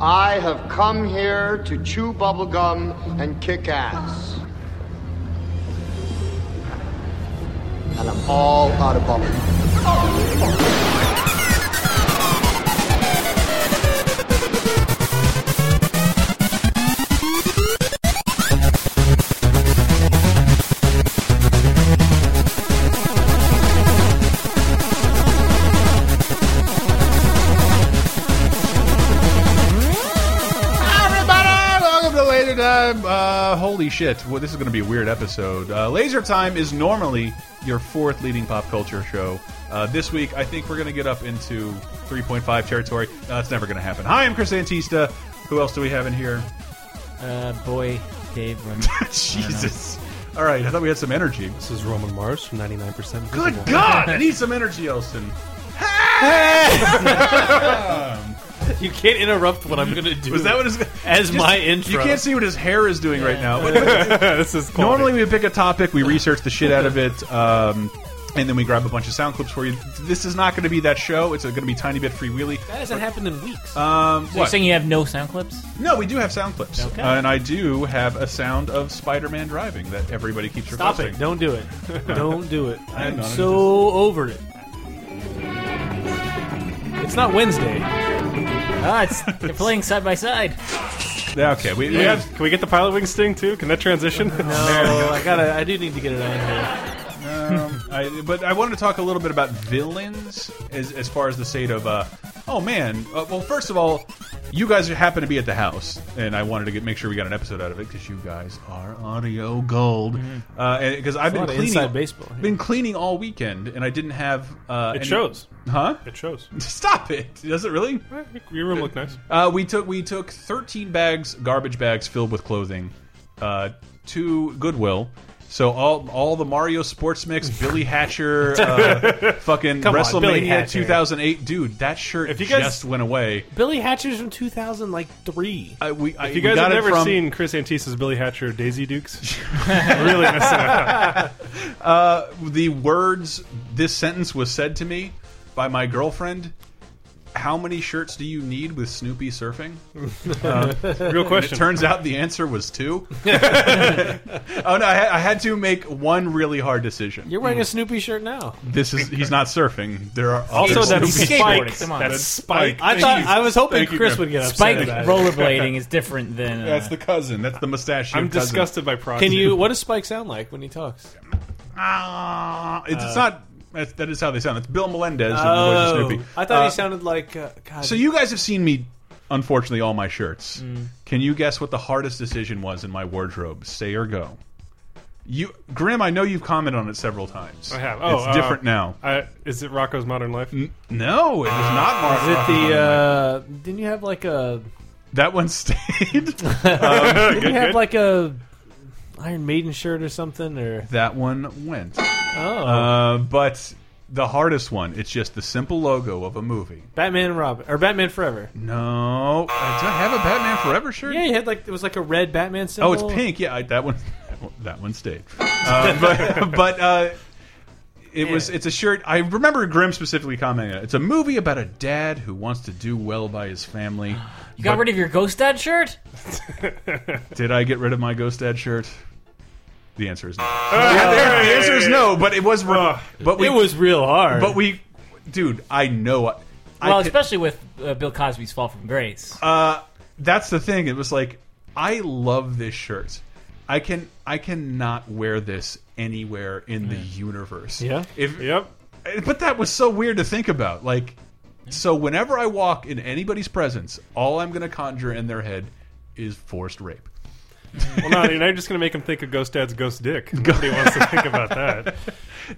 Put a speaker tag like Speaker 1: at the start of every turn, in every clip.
Speaker 1: I have come here to chew bubblegum and kick ass. And I'm all out of bubblegum.
Speaker 2: Everybody, welcome to Laser Time. Uh, holy shit, well, this is going to be a weird episode. Uh, Laser Time is normally your fourth leading pop culture show. Uh, this week, I think we're going to get up into 3.5 territory. No, that's never going to happen. Hi, I'm Chris Antista. Who else do we have in here?
Speaker 3: Uh, boy, Dave. Run-
Speaker 2: Jesus. All right, I thought we had some energy.
Speaker 4: This is Roman Mars from 99%.
Speaker 2: Good
Speaker 4: Visible.
Speaker 2: God, I need some energy, Elston.
Speaker 3: you can't interrupt what I'm going to do.
Speaker 2: Was that what his
Speaker 3: As my
Speaker 2: You
Speaker 3: intro.
Speaker 2: can't see what his hair is doing right now. But
Speaker 4: this is quality.
Speaker 2: Normally, we pick a topic, we research the shit out of it, um, and then we grab a bunch of sound clips for you. This is not going to be that show. It's going to be tiny bit freewheely.
Speaker 3: That hasn't happened in weeks.
Speaker 2: Um,
Speaker 5: You're
Speaker 2: what?
Speaker 5: saying you have no sound clips?
Speaker 2: no, we do have sound clips,
Speaker 3: Okay.
Speaker 2: Uh, and I do have a sound of Spider-Man driving that everybody keeps
Speaker 3: Stop
Speaker 2: requesting.
Speaker 3: it. Don't do it. Don't do it. I'm
Speaker 2: not
Speaker 3: so over it. It's not Wednesday.
Speaker 5: Ah, it's, they're playing side by side.
Speaker 2: Yeah, Okay, we, we
Speaker 4: Yeah,
Speaker 2: have.
Speaker 4: Can we get the pilot wing sting too? Can that transition?
Speaker 3: No, Oh, I gotta. I do need to get it on here.
Speaker 2: Um, I, but I wanted to talk a little bit about villains as, as far as the state of, uh, oh man. Uh, well, first of all, you guys happen to be at the house, and I wanted to get, make sure we got an episode out of it because you guys are audio gold. Because I've been
Speaker 3: Mm-hmm. a lot of
Speaker 2: cleaning,
Speaker 3: inside baseball here.
Speaker 2: been cleaning all weekend, and I didn't have. Uh,
Speaker 4: It
Speaker 2: any-
Speaker 4: shows.
Speaker 2: huh?
Speaker 4: It shows.
Speaker 2: Stop it! Does it really?
Speaker 4: Your room looked nice.
Speaker 2: Uh, we took we took thirteen bags, garbage bags filled with clothing, uh, to Goodwill. So all all the Mario Sports Mix, Billy Hatcher, uh, fucking
Speaker 3: Come on, Billy
Speaker 2: WrestleMania
Speaker 3: Hatcher.
Speaker 2: 2008, dude, that shirt
Speaker 4: If you guys-
Speaker 2: just went away.
Speaker 3: Billy Hatcher's from 2003.
Speaker 2: I, we, I,
Speaker 4: If you
Speaker 2: we
Speaker 4: guys
Speaker 2: got
Speaker 4: have
Speaker 2: it
Speaker 4: never
Speaker 2: from,
Speaker 4: seen Chris Antisa's Billy Hatcher Daisy Dukes, really messing up.
Speaker 2: uh, the words this sentence was said to me by my girlfriend. How many shirts do you need with Snoopy surfing?
Speaker 4: Real question.
Speaker 2: It turns out the answer was two. oh no, I had, I had to make one really hard decision.
Speaker 3: You're wearing a Snoopy shirt now.
Speaker 2: This is he's not surfing. There are
Speaker 4: also,
Speaker 2: other Snoopy
Speaker 4: that
Speaker 5: He's
Speaker 4: spike.
Speaker 5: skateboarding, come on.
Speaker 4: That spike.
Speaker 3: I thought I was hoping
Speaker 4: Thank you,
Speaker 3: Chris
Speaker 4: Griff.
Speaker 3: would get upset
Speaker 5: Spike
Speaker 3: about it.
Speaker 5: rollerblading is different than. Uh,
Speaker 2: That's the cousin. That's the mustachio.
Speaker 4: I'm
Speaker 2: cousin.
Speaker 4: disgusted by proxy.
Speaker 3: Can you? What does Spike sound like when he talks?
Speaker 2: Ah, it's,
Speaker 3: Uh,
Speaker 2: it's not. That's, that is how they sound. It's Bill Melendez. who voices
Speaker 3: Oh,
Speaker 2: Snoopy.
Speaker 3: I thought
Speaker 2: Uh,
Speaker 3: he sounded like uh, God.
Speaker 2: So you guys have seen me, unfortunately, all my shirts.
Speaker 3: Mm.
Speaker 2: Can you guess what the hardest decision was in my wardrobe? Say or go. You, Grim. I know you've commented on it several times.
Speaker 4: I have. Oh,
Speaker 2: it's
Speaker 4: uh,
Speaker 2: different now.
Speaker 4: I, is it Rocco's Modern Life?
Speaker 2: No, it was not
Speaker 3: Ah.
Speaker 2: Mark.
Speaker 3: Is it the? Uh, didn't you have like a?
Speaker 2: that one stayed.
Speaker 3: Didn't you have
Speaker 4: good.
Speaker 3: like a Iron Maiden shirt or something? Or
Speaker 2: that one went.
Speaker 3: oh,
Speaker 2: Uh, but the hardest one, it's just the simple logo of a movie.
Speaker 3: Batman and Robin or Batman Forever?
Speaker 2: No, I do I have a Batman Forever shirt?
Speaker 3: Yeah, you had like it was like a red Batman symbol.
Speaker 2: Oh, it's pink. Yeah, I, that one, that one stayed. Uh, but but uh, it was. It's a shirt. I remember Grimm specifically commenting. on it. It's a movie about a dad who wants to do well by his family.
Speaker 5: you got rid of your Ghost Dad shirt?
Speaker 2: Did I get rid of my Ghost Dad shirt? The answer is no. the answer is no. But it was. wrong. but we.
Speaker 3: It was real hard.
Speaker 2: But we. Dude, I know. I, I
Speaker 5: Well,
Speaker 2: could-
Speaker 5: especially with uh, Bill Cosby's Fall from Grace.
Speaker 2: Uh, that's the thing. It was like, I love this shirt. I can I cannot wear this anywhere in the universe.
Speaker 3: Yeah.
Speaker 2: If
Speaker 4: Yep.
Speaker 2: but that was so weird to think about. Like, so whenever I walk in anybody's presence, all I'm gonna conjure in their head is forced rape.
Speaker 4: Well, no, you're just going to make him think of Ghost Dad's Ghost Dick. Nobody wants to think about that.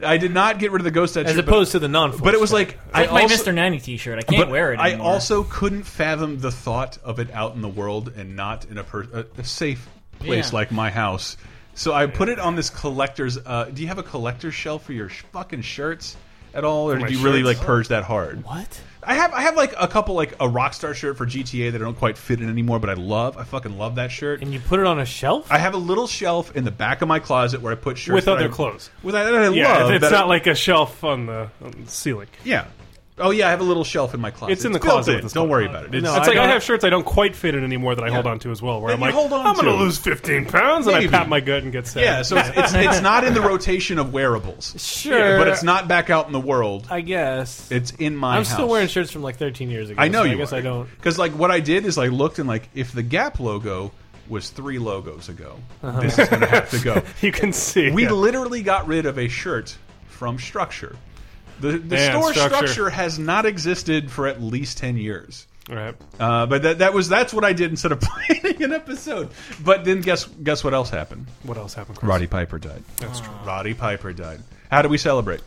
Speaker 2: I did not get rid of the ghost edge,
Speaker 3: as opposed to the non.
Speaker 2: but it was like I
Speaker 5: Like my
Speaker 2: also,
Speaker 5: Mr. Nanny t shirt. I can't
Speaker 2: but
Speaker 5: wear it
Speaker 2: I
Speaker 5: anymore.
Speaker 2: also couldn't fathom the thought of it out in the world and not in a, per a, a safe place
Speaker 5: Yeah.
Speaker 2: like my house. So I put it on this collector's. Uh, do you have a collector's shelf for your sh fucking shirts at all, or
Speaker 4: my
Speaker 2: do you really like
Speaker 4: shirts?
Speaker 2: purge that hard?
Speaker 3: what?
Speaker 2: I have I have like a couple like a Rockstar shirt for GTA that I don't quite fit in anymore, but I love. I fucking love that shirt.
Speaker 3: And you put it on a shelf?
Speaker 2: I have a little shelf in the back of my closet where I put shirts
Speaker 4: With
Speaker 2: that
Speaker 4: other
Speaker 2: I-
Speaker 4: clothes.
Speaker 2: With that I
Speaker 4: Yeah,
Speaker 2: love.
Speaker 4: it's
Speaker 2: that I-
Speaker 4: not like a shelf on the, on the ceiling.
Speaker 2: yeah. Oh yeah, I have a little shelf in my closet.
Speaker 4: It's in the
Speaker 2: built
Speaker 4: closet
Speaker 2: in.
Speaker 4: at this
Speaker 2: Don't
Speaker 4: point.
Speaker 2: worry about it. It's-
Speaker 3: No,
Speaker 4: it's
Speaker 3: I
Speaker 4: like I
Speaker 3: don't-
Speaker 4: have shirts I don't quite fit in anymore that I hold
Speaker 2: Yeah.
Speaker 4: on to as well. Where
Speaker 2: That
Speaker 4: I'm
Speaker 2: you
Speaker 4: like,
Speaker 2: hold on
Speaker 4: I'm going to
Speaker 2: to.
Speaker 4: lose 15 pounds, and
Speaker 2: Maybe.
Speaker 4: I pat my gut and get sad.
Speaker 2: yeah, so it's, it's it's not in the rotation of wearables,
Speaker 3: Sure,
Speaker 2: but it's not back out in the world.
Speaker 3: I guess
Speaker 2: It's in my.
Speaker 3: I'm still
Speaker 2: house.
Speaker 3: wearing shirts from like 13 years ago.
Speaker 2: I know
Speaker 3: so
Speaker 2: you.
Speaker 3: I guess I don't.
Speaker 2: Because like what I did is I looked and like if the Gap logo was three logos ago,
Speaker 3: Uh-huh.
Speaker 2: this is gonna have to go.
Speaker 4: you can see.
Speaker 2: We
Speaker 4: yeah.
Speaker 2: literally got rid of a shirt from Structure. The, the
Speaker 4: Man,
Speaker 2: store
Speaker 4: Structure.
Speaker 2: structure has not existed for at least ten years.
Speaker 4: All right.
Speaker 2: Uh, but that, that was that's what I did instead of planning an episode. But then guess guess what else happened?
Speaker 4: What else happened, Chris?
Speaker 2: Roddy Piper died. That's true. Roddy Piper died. How do we celebrate?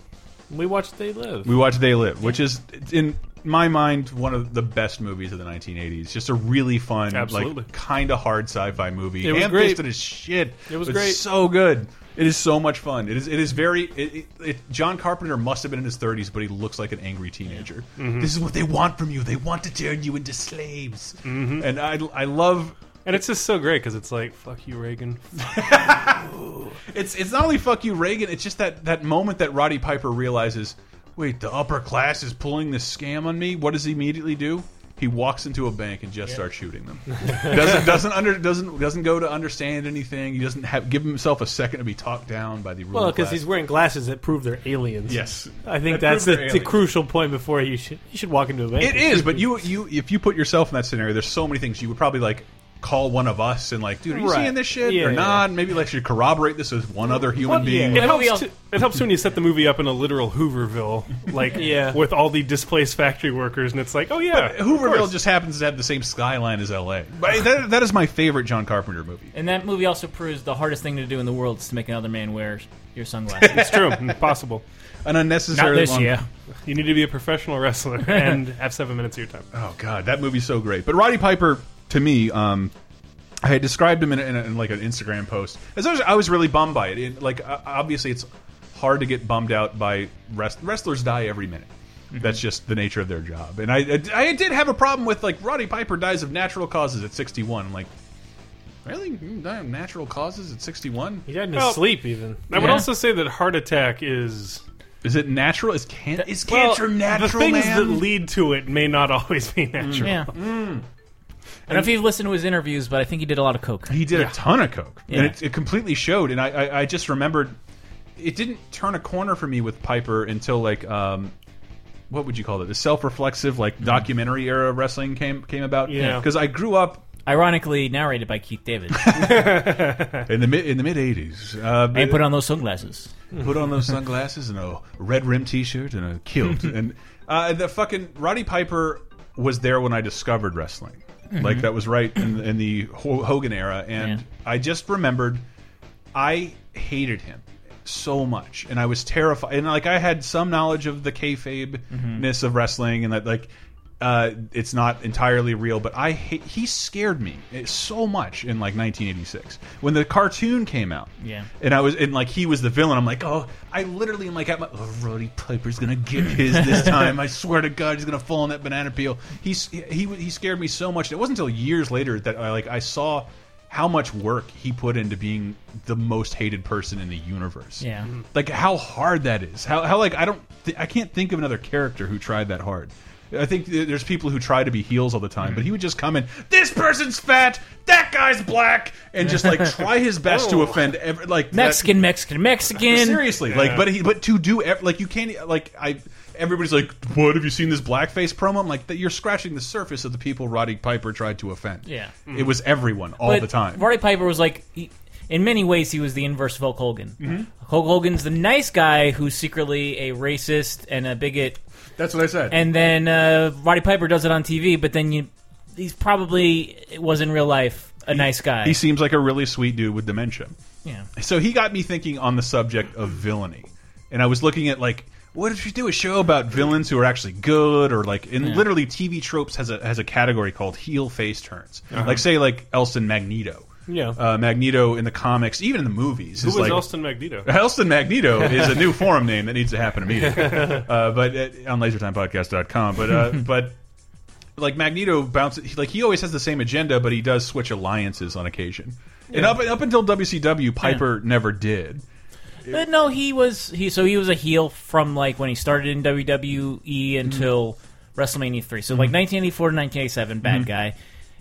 Speaker 3: We watch They Live.
Speaker 2: We watched They Live, which is in my mind one of the best movies of the 1980s. Just a really fun,
Speaker 4: Absolutely.
Speaker 2: like kind of hard sci-fi movie.
Speaker 3: It was
Speaker 2: Ham-fisted
Speaker 3: great.
Speaker 2: as shit.
Speaker 3: It was
Speaker 2: but
Speaker 3: great.
Speaker 2: So good. It is so much fun. It is. It is very. It, it, it, John Carpenter must have been in his 30s, but he looks like an angry teenager.
Speaker 3: Mm-hmm.
Speaker 2: This is what they want from you. They want to turn you into slaves.
Speaker 3: Mm-hmm.
Speaker 2: And I, I love
Speaker 4: And it's just so great because it's like, fuck you, Reagan.
Speaker 2: It's it's not only fuck you Reagan. It's just that that moment that Roddy Piper realizes, wait, the upper class is pulling this scam on me. What does he immediately do? He walks into a bank and just starts shooting them. doesn't doesn't under doesn't doesn't go to understand anything. He doesn't have give himself a second to be talked down by the ruling
Speaker 3: well, because
Speaker 2: class.
Speaker 3: he's wearing glasses that prove they're aliens.
Speaker 2: yes.
Speaker 3: I
Speaker 2: That
Speaker 3: think that's
Speaker 2: proves
Speaker 3: the,
Speaker 2: they're
Speaker 3: the
Speaker 2: aliens.
Speaker 3: crucial point before you should you should walk into a bank.
Speaker 2: It is, but you you if you put yourself in that scenario, there's so many things you would probably like call one of us and like, dude, are you
Speaker 3: Right.
Speaker 2: seeing this shit
Speaker 3: Yeah,
Speaker 2: or
Speaker 3: yeah.
Speaker 2: not? Maybe like should corroborate this with one other human
Speaker 3: Well,
Speaker 2: being.
Speaker 3: yeah.
Speaker 4: It
Speaker 5: Well, we
Speaker 4: helps,
Speaker 5: all-
Speaker 4: to, it helps when you set the movie up in a literal Hooverville, like
Speaker 3: Yeah.
Speaker 4: with all the displaced factory workers, and it's like, oh yeah, of
Speaker 2: Hooverville
Speaker 4: course.
Speaker 2: just happens to have the same skyline as L.A. But that, that is my favorite John Carpenter movie.
Speaker 5: And that movie also proves the hardest thing to do in the world is to make another man wear your sunglasses.
Speaker 4: It's true, impossible.
Speaker 2: An
Speaker 5: Not
Speaker 2: unnecessarily
Speaker 5: this
Speaker 2: long.
Speaker 5: year.
Speaker 4: You need to be a professional wrestler and have seven minutes of your time.
Speaker 2: Oh God, that movie's so great. But Roddy Piper, to me, um, I had described him in, a- in, a, in like an Instagram post. As I was, I was really bummed by it. it like uh, obviously, it's hard to get bummed out by rest, wrestlers die every minute. That's just the nature of their job. And I, I, I did have a problem with like Roddy Piper dies of natural causes at 61. I'm like, really, you die of natural causes at 61?
Speaker 3: He died in
Speaker 4: Well,
Speaker 3: his sleep, even.
Speaker 4: I would
Speaker 5: Yeah.
Speaker 4: also say that heart attack is
Speaker 2: Is it natural? Is, can is
Speaker 4: well,
Speaker 2: cancer natural?
Speaker 4: The things
Speaker 2: man?
Speaker 4: that lead to it may not always be natural.
Speaker 5: yeah.
Speaker 3: Mm.
Speaker 5: I don't know if you've listened to his interviews, but I think he did a lot of coke.
Speaker 2: He did a ton of coke,
Speaker 5: Yeah.
Speaker 2: and it, it completely showed. And I, I, I just remembered it didn't turn a corner for me with Piper until like um, what would you call it? The self-reflexive
Speaker 5: Mm-hmm.
Speaker 2: like documentary era of wrestling came came about.
Speaker 4: Yeah.
Speaker 2: because I grew up
Speaker 5: Ironically, narrated by Keith David.
Speaker 2: in the mid in the mid '80s. Uh,
Speaker 5: and put on those sunglasses.
Speaker 2: put on those sunglasses and a red rim T-shirt and a kilt, and uh, the fucking Roddy Piper was there when I discovered wrestling. Like that was right in, in the Ho- Hogan era, and I just remembered I hated him so much, and I was terrified. And like I had some knowledge of the kayfabe ness of wrestling, and that like. Uh, it's not entirely real, but I hate, he scared me eh, so much in like 1986 when the cartoon came out.
Speaker 5: Yeah.
Speaker 2: And I was and like he was the villain. I'm like, oh, I literally am like, at my, oh, Roddy Piper's gonna get his this time. I swear to God, he's gonna fall on that banana peel. He's he he scared me so much. And it wasn't until years later that I like I saw how much work he put into being the most hated person in the universe.
Speaker 5: Yeah.
Speaker 2: Like how hard that is. How how like I don't th I can't think of another character who tried that hard. I think th- there's people who try to be heels all the time, but he would just come in. This person's fat. That guy's black, and just like try his best to offend every like that-
Speaker 5: Mexican, Mexican, Mexican.
Speaker 2: Seriously, like, but he, but to do ev- like you can't e-, like I. Everybody's like, "What have you seen this blackface promo?" I'm like, "That you're scratching the surface of the people Roddy Piper tried to offend."
Speaker 5: Yeah.
Speaker 2: it was everyone all
Speaker 5: But
Speaker 2: the time.
Speaker 5: Roddy Piper was like, he, in many ways, he was the inverse of Hulk Hogan.
Speaker 2: Mm-hmm.
Speaker 5: Hulk Hogan's the nice guy who's secretly a racist and a bigot,
Speaker 2: That's what I said.
Speaker 5: and then uh, Roddy Piper does it on TV, but then you, he's probably was in real life a nice guy.
Speaker 2: he seems like a really sweet dude with dementia.
Speaker 5: yeah.
Speaker 2: So he got me thinking on the subject of villainy, and I was looking at like, what if you do a show about villains who are actually good, or like, and literally TV tropes has a has a category called heel face turns.
Speaker 4: Uh-huh.
Speaker 2: Like say like Elson Magneto.
Speaker 3: Yeah.
Speaker 2: uh, Magneto in the comics, even in the movies,
Speaker 4: Who
Speaker 2: is
Speaker 4: was
Speaker 2: like
Speaker 4: Elston Magneto?
Speaker 2: Elston Magneto is a new forum name that needs to happen immediately. uh, but uh, on lasertimepodcast.com. But uh, but like Magneto bounces he- like he always has the same agenda, but he does switch alliances on occasion. And up up until WCW, Piper never did.
Speaker 5: Uh, no, he was he. So he was a heel from like when he started in WWE until WrestleMania three. So
Speaker 2: Mm-hmm.
Speaker 5: like 1984 to 1987, bad guy,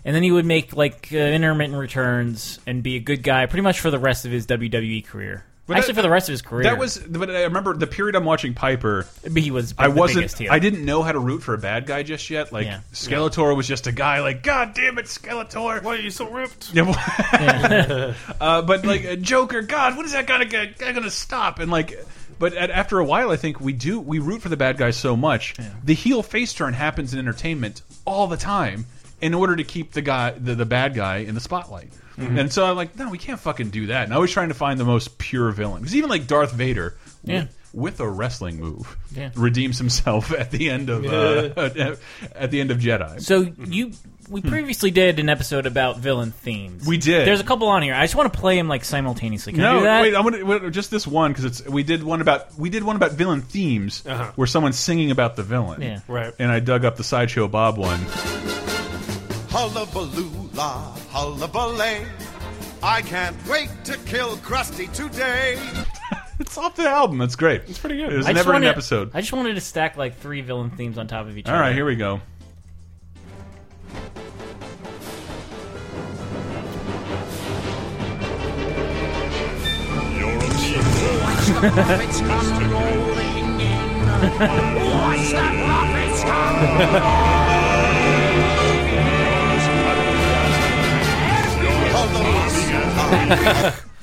Speaker 5: and then he would make like uh, intermittent returns and be a good guy pretty much for the rest of his WWE career.
Speaker 2: But that-
Speaker 5: Actually, for the rest of his career,
Speaker 2: That was, but I remember the period I'm watching Piper.
Speaker 5: he was.
Speaker 2: I
Speaker 5: the
Speaker 2: wasn't.
Speaker 5: biggest heel.
Speaker 2: I didn't know how to root for a bad guy just yet. Like
Speaker 5: Yeah.
Speaker 2: Skeletor was just a guy. Like God damn it, Skeletor!
Speaker 4: Why are you so ripped?
Speaker 2: Yeah, well- uh, but like a Joker, God, when is that gonna get, gonna stop? And like, but at, after a while, I think we do we root for the bad guy so much. The heel face turn happens in entertainment all the time in order to keep the guy the, the bad guy in the spotlight.
Speaker 5: Mm-hmm.
Speaker 2: And so I'm like, no, we can't fucking do that. And I was trying to find the most pure villain because even like Darth Vader.
Speaker 5: Yeah.
Speaker 2: With a wrestling move,
Speaker 5: Yeah.
Speaker 2: redeems himself at the end of uh, at the end of Jedi.
Speaker 5: So you, we previously did an episode about villain themes.
Speaker 2: Mm-hmm. We did.
Speaker 5: There's a couple on here. I just want to play them like simultaneously. Can I
Speaker 2: No,
Speaker 5: do that?
Speaker 2: wait. I want to just this one because it's we did one about we did one about villain themes
Speaker 4: Uh-huh.
Speaker 2: where someone's singing about the villain.
Speaker 5: Yeah.
Speaker 4: Right.
Speaker 2: And I dug up the sideshow Bob one.
Speaker 6: Hullabaloola, hullabalay. I can't wait to kill Krusty today.
Speaker 2: It's off the album. It's great. It's
Speaker 4: pretty good.
Speaker 2: It was
Speaker 5: I just
Speaker 2: never an
Speaker 5: wanted-
Speaker 2: episode.
Speaker 5: I just wanted to stack like three villain themes on top of each
Speaker 2: All
Speaker 5: other.
Speaker 2: right, here we go.